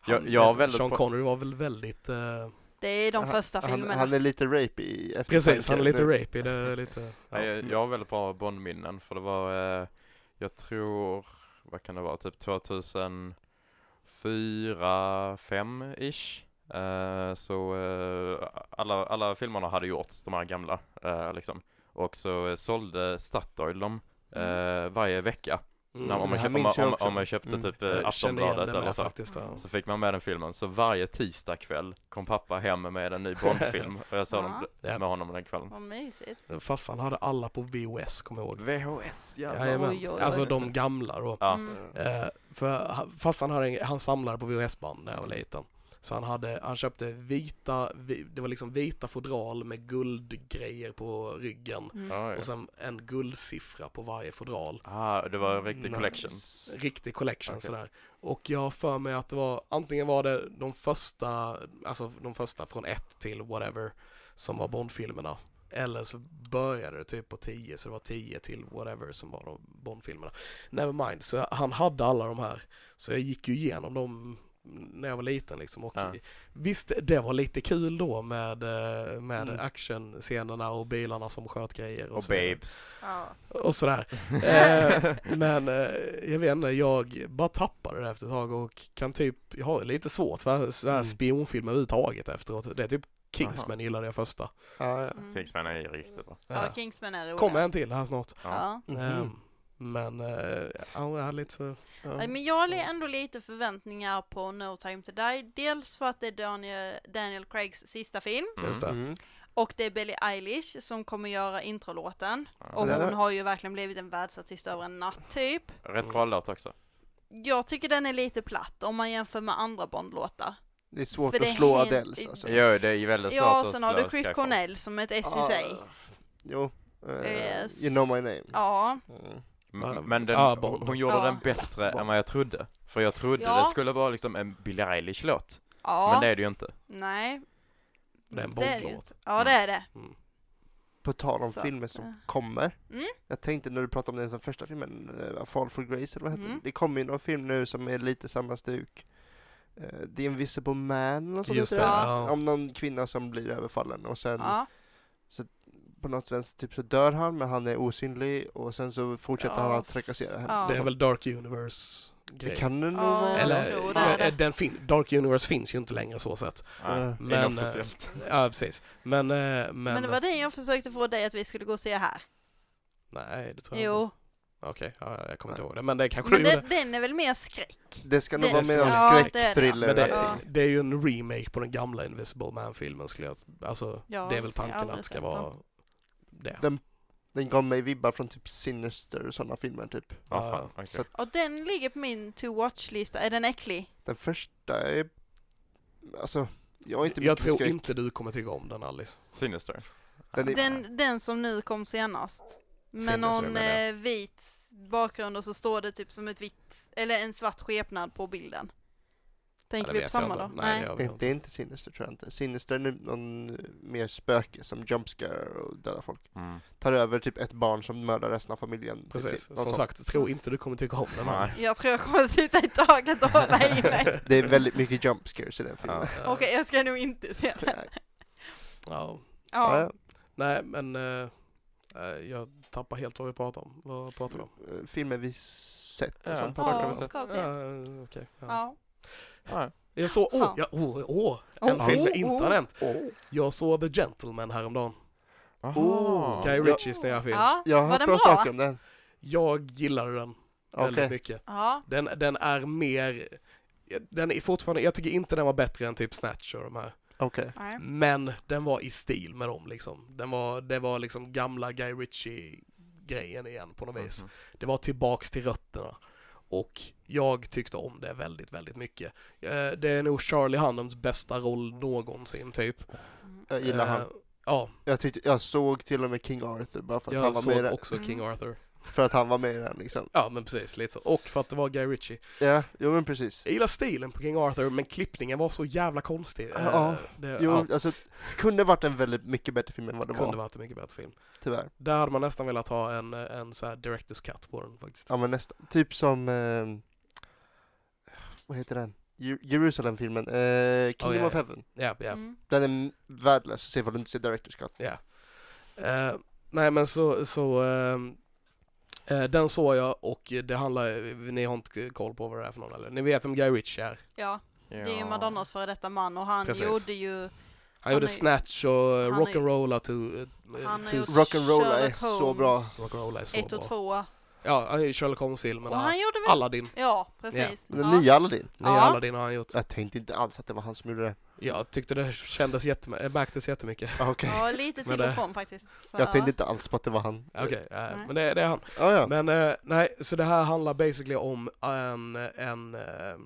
Jag- jag har väldigt Sean på- Connery var väl väldigt... Eh, det är de Han- första Han, filmerna. han är lite rapey i eftertanke precis, han är lite nu. rapey. Det är lite... Ja. Nej, jag- jag har väldigt bra Bondminnen för det var, eh, jag tror, vad kan det vara, typ 2004, 5 ish. Eh, så eh, alla, alla filmerna hade gjorts, de här gamla, eh, liksom. Och så eh, sålde Statoil dem eh, varje vecka. Mm. När, om, man det här köp, om, minns man- jag om, också. om man köpte Mm. typ Jag eh, känner igen alltså. Aftonbladet det eller Alltså, med så. faktiskt. Ja. Så fick man med den filmen, så varje tisdag kväll kom pappa hem med en ny Bondfilm och jag såg dem Ja. med honom den kvällen. Vad mysigt. Farsan hade alla på VOS, kommer jag ihåg. VHS, Jajamän. Oj, oj, oj. Alltså de gamla då. Ja. Mm. Eh, för han- farsan hade en, han samlade på VHS-band när jag var liten. Så han, hade, han köpte vita, vi- det var liksom vita fodral med guldgrejer på ryggen Mm. Ja, ja. och sen en guldsiffra på varje fodral. Ah, det var en riktig Nice. collection. Riktig collection Okej. sådär. Och jag har för mig att det var, antingen var det de första, alltså de första från ett till whatever som var Bondfilmerna. Eller så började det typ på 10 så det var 10 till whatever som var de Bondfilmerna. Nevermind, så han hade alla de här. Så jag gick ju igenom dem när jag var liten liksom och Ja. visst det var lite kul då med, eh, med Mm. actionscenerna och bilarna som sköt grejer och, Och så vidare. babes. Ja. och sådär. Eh, men eh, jag vet inte, jag bara tappade det efter ett tag och kan typ, jag har lite svårt för så här Mm. spionfilmer överhuvudtaget efteråt. Det är typ Kingsman gillade jag första. Eh, Ja, ja. Mm. Kingsman är ju riktigt bra. ja, Kingsman är rolig. Kommer en till här snart. Ja. Mhm. Mm. Ehm, men eh, ja, jag hade lite så, Ja. Mm. Nej, Men jag har li- ändå lite förväntningar på No Time To Die. Dels för att det är Daniel, Daniel Craigs sista film. Mm. just det. Mm. Och det är Billie Eilish som kommer göra introlåten. Alltså, Och Ja. hon har ju verkligen blivit en världsartist över en natt typ. Rätt bra låt också. Jag tycker den är lite platt om man jämför med andra Bond-låtar. Det är svårt För det att slå händer- Adeles alltså. Jo, det är ju väldigt svårt Ja, att sen har du slå Chris Skyfall. Cornell som ett S i Ah, sig. Jo. eh, Yes. You know my name. Ja, Mm. Ja, M- Men den, ja, hon, Bond. hon gjorde Ja. den bättre än vad jag trodde. För jag trodde Ja. det skulle vara liksom en Billie Eilish-låt. ja, Men det är det ju inte. nej. Det är en Det är det ju Bondlåt. Ja, det är det. Mm. På tal om Så filmer att, eh. som kommer. Mm. Jag tänkte när du pratade om den som första filmen, eh, Fall for Grace eller vad hette Mm. den? Det kommer ju någon film nu som är lite samma stuk. Eh, The Invisible Man och sånt Just det, heter den. ja. Mm. Om någon kvinna som blir överfallen och sen Ja, på något vänster typ så dör han men han är osynlig och sen så fortsätter Ja. han att trakassera henne. Ja. Det är väl Dark Universe Det grej. kan det nog Ja, vara. jag Eller, tror det är eh, det. den fin- Dark Universe finns ju inte längre så sett. Nej, Men, eh, inofficiellt. Ja, precis. Men, eh, men, men det var det jag försökte få dig att vi skulle gå och se här. nej, det tror jag inte. Jo, Okej, ja, jag kommer inte ihåg det. Men det kanske men du gjorde. den, den är väl mer skräck? Det ska nog Det- vara mer av Ja, det är det. skräckthriller. Men det, Ja. det är ju en remake på den gamla Invisible Man-filmen skulle jag... Alltså, Ja, det är väl jag har tanken att aldrig det ska sett vara det. Den- Den gav mig vibbar från typ Sinister och sådana filmer typ. Ja, fan. okej. Så att Och den ligger på min to watch-lista. Är den äcklig? den första är... Alltså, jag är inte jag mycket för tror skräck. inte du kommer tycka om den Alice. Sinister. Den är- Den, den som nu kom senast. Sinnes, Med jag någon menar. eh, vit bakgrund och så står det typ som ett vitt, eller en svart skepnad på bilden. Ja, Tänker det vi på vet jag samma inte. då? Nej, det gör vi Det inte. är inte Sinister tror jag inte. Sinister är nu någon eh, mer spöke som jumpscare och dödar folk. Mm. Tar över typ ett barn som mördar resten av familjen. Det Precis, fin- som någon sån. sagt, tror inte du kommer tycka om den Nej. Alice. Jag tror jag kommer sitta i taket och hålla i mig. Det är väldigt mycket jumpscares i den filmen. Ja. Okej, jag ska nog inte se den. Nej. Eh, Ja. Ja. Nej, men... eh, eh, jag tappar helt vad vi pratar om. Vad pratar vi om? Eh, Filmer vi sett och Ja, sånt. snart Ja, kan vi se. ska se. Uh, Okej. ja. Ja. Ja. Jag såg... Åh, Ja. ja, åh, åh! Oh, En film jag oh, inte har oh. nämnt. Åh. Jag såg The Gentleman häromdagen. Aha. Oh, Guy Ja. Ritchies nya film. Ja, Jag har var hört den bra bra? saker om den. Jag gillade den Okej. väldigt mycket. Ja. Den, den är mer, den är fortfarande, jag tycker inte den var bättre än typ Snatch och de här. Okej. Nej. Men den var i stil med dem liksom. Den var, det var liksom gamla Guy Ritchie-grejen igen på något vis. Mhm. Det var tillbaks till rötterna. Och jag tyckte om det väldigt, väldigt mycket. Eh, Det är nog Charlie Hunnams bästa roll någonsin typ. Jag gillar Eh, han. Ja, Jag, tyckte, jag såg till och med King Arthur bara för att, han jag var med i såg den, också King Mm. Arthur. för att han var med i den liksom. Ja, men precis, lite så. Och för att det var Guy Ritchie. Ja, jo men precis. Jag gillar stilen på King Arthur, men klippningen var så jävla konstig. Eh, Ja, det, Jo, ja, alltså kunde varit en väldigt mycket bättre film än vad det kunde var, varit en mycket bättre film. tyvärr. Där hade man nästan velat ha en, eh, en så här director's cut på den faktiskt. Ja men nästan. Typ som, eh, vad heter den? Ju- Jerusalem-filmen, eh, Kingdom ja, of ja. Heaven. Ja, ja, Mm. Den är m- värdelös, se vad du inte ser Director's Cut. ja. Eh, nej men så, så ehm, eh, den såg jag och det handlar, eh, ni har inte koll på vad det är för någon eller? Ni vet vem Guy Ritchie är? Ja, det är ju Madonnas före detta man och han Precis. gjorde ju Han gjorde är- Snatch och han är- Rock'n'Rolla to... eh, Han har to gjort Rock'n'Roll är Sherlock så Holmes. bra. Rock'n'Rolla är så ett bra. och två. Ja, han gjorde Sherlock Och han Holmes-filmerna. gjorde väl... Aladdin. Ja, precis. Den Ja. nya Aladdin. Nya Ja. Aladdin har han gjort. Jag tänkte inte alls att det var han som gjorde det. Jag tyckte det kändes jättemy- äh, märktes jättemycket. Ah, Okej. Ja, lite Men till och det- från faktiskt. Så, Jag tänkte inte alls på att det var han. Okej, eh, Nej. men det, det är han. Ah, ja. Men eh, nej, så det här handlar basically om en, en eh,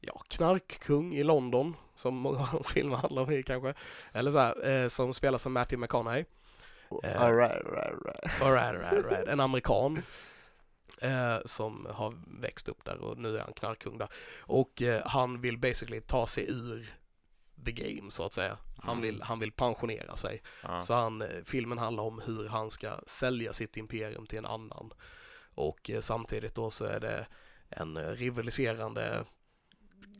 ja, knarkkung i London som många av hans filmer handlar om kanske. Eller så här, eh, som spelas som Matthew McConaughey. Oh, Eh, Alright, alright, alright. Alright, alright, alright. En amerikan. Eh, som har växt upp där och nu är han knarkkung där. Och eh, han vill basically ta sig ur the game så att säga. Han Mm. vill, han vill pensionera sig. Ja. Så han, eh, filmen handlar om hur han ska sälja sitt imperium till en annan. Och eh, samtidigt då så är det en eh, rivaliserande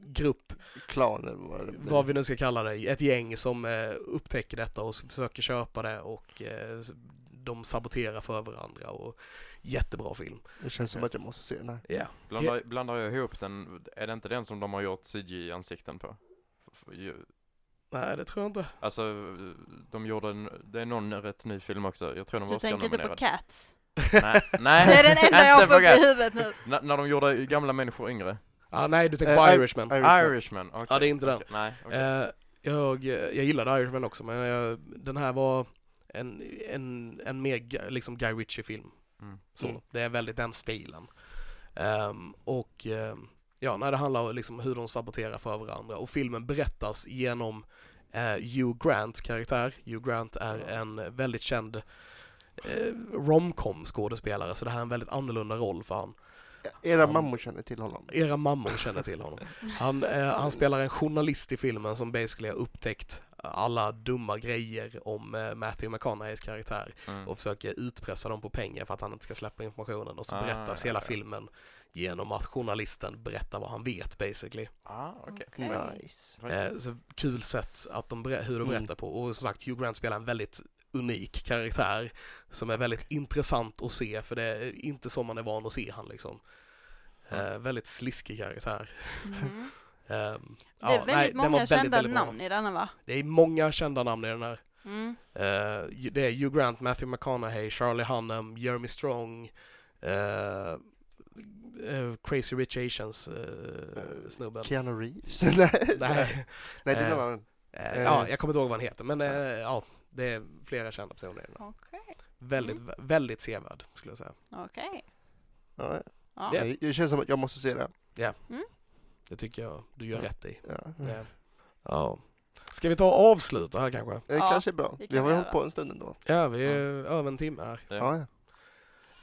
grupp, Klaner var det. vad vi nu ska kalla det, ett gäng som eh, upptäcker detta och s- försöker köpa det och eh, s- de saboterar för varandra och jättebra film. Det känns som att jag måste se den här. Ja, Blandar, blandar jag ihop den, är det inte den som de har gjort CG-ansikten på? F- f- ju- nej det tror jag inte. Alltså, de gjorde en, det är någon rätt ny film också, jag tror den var Du tänker inte på Oscar-nominerad. Cats? Nej, nej, Det är den enda jag inte får upp Cats. i huvudet nu. N- när de gjorde gamla människor yngre? Ah, nej, du tänker på Eh, I- Irishman. Irishman. Irishman, okej. Ja, det är inte den. Okej, Nej, okej. Eh, jag, jag gillade Irishman också men jag, den här var en, en, en mer Gu- liksom Guy Ritchie-film. Mm. Så Mm. det är väldigt den stilen. Ehm, och ehm, ja, när det handlar om liksom hur de saboterar för varandra och filmen berättas genom eh, Hugh Grants karaktär. Hugh Grant är en väldigt känd eh, romcom skådespelare så det här är en väldigt annorlunda roll för han. Era Han- mammor känner till honom. Era mammor känner till honom. Han, eh, han spelar en journalist i filmen som basically har upptäckt alla dumma grejer om eh, Matthew McConaugheys karaktär Mm. och försöker utpressa dem på pengar för att han inte ska släppa informationen och så Ah, berättas ja, hela ja. filmen genom att journalisten berättar vad han vet basically. Ah, okej. Nice. Eh, så kul sätt att de berä- hur de Mm. berättar på och som sagt Hugh Grant spelar en väldigt unik karaktär som är väldigt intressant att se för det är inte som man är van att se han liksom. Eh, väldigt sliskig karaktär. Mhm. Ehm, Det är väldigt den var många kända bra. namn i denna va? Det är många kända namn i den här. Mm. Eh, det är Hugh Grant, Matthew McConaughey, Charlie Hunnam, Jeremy Strong, eh, eh, Crazy Rich Asians eh, Eh, snubben. Keanu Reeves? Nej, Nej, Nej, det är Eh, någon annan. eh, ja, jag kommer inte ihåg vad han heter, men eh, ja, det är flera kända personer i den här. Okej. Mm. Väldigt, väldigt sevärd skulle jag säga. Okej. Ja, Ja. Ja. Det känns som att jag måste se den. Det tycker jag du gör rätt i. Ja. Mm. Ja. Ja. Ska vi ta och avsluta här kanske? Det Ja, kanske är bra. det Vi kan har vi ju hållit göra. på en stund ändå. Ja, vi är över en timme här. Ja.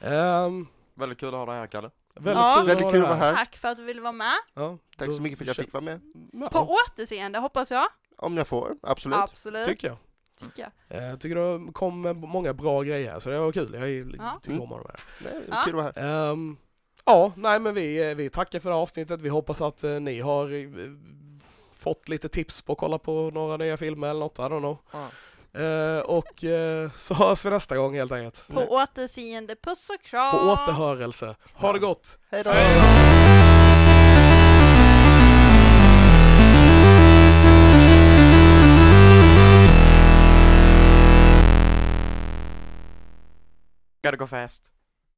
Ja. Ehm, Väldigt kul att ha dig här, Kalle. väldigt Ja. kul Väldigt ha kul dig att vara här. Tack för att du ville vara med. Ja, Tack så mycket för att jag kö- fick vara med. Ja, På återseende hoppas jag. Om jag får, absolut. Absolut. tycker jag. tycker jag. Eh, Jag tycker det kom med många bra grejer här, så det var kul. Jag är- Ja. tycker Mm. om det här. Nej, det är Ja. Kul att vara här. Ehm, ja, nej men vi, eh, vi tackar för det här avsnittet. Vi hoppas att eh, ni har eh, fått lite tips på att kolla på några nya filmer eller något, I don't know. Ja. Eh, och eh, så hörs vi nästa gång helt enkelt. På återseende. Puss och kram. På återhörelse. Ha det gott! Hej då! Gotta go fast.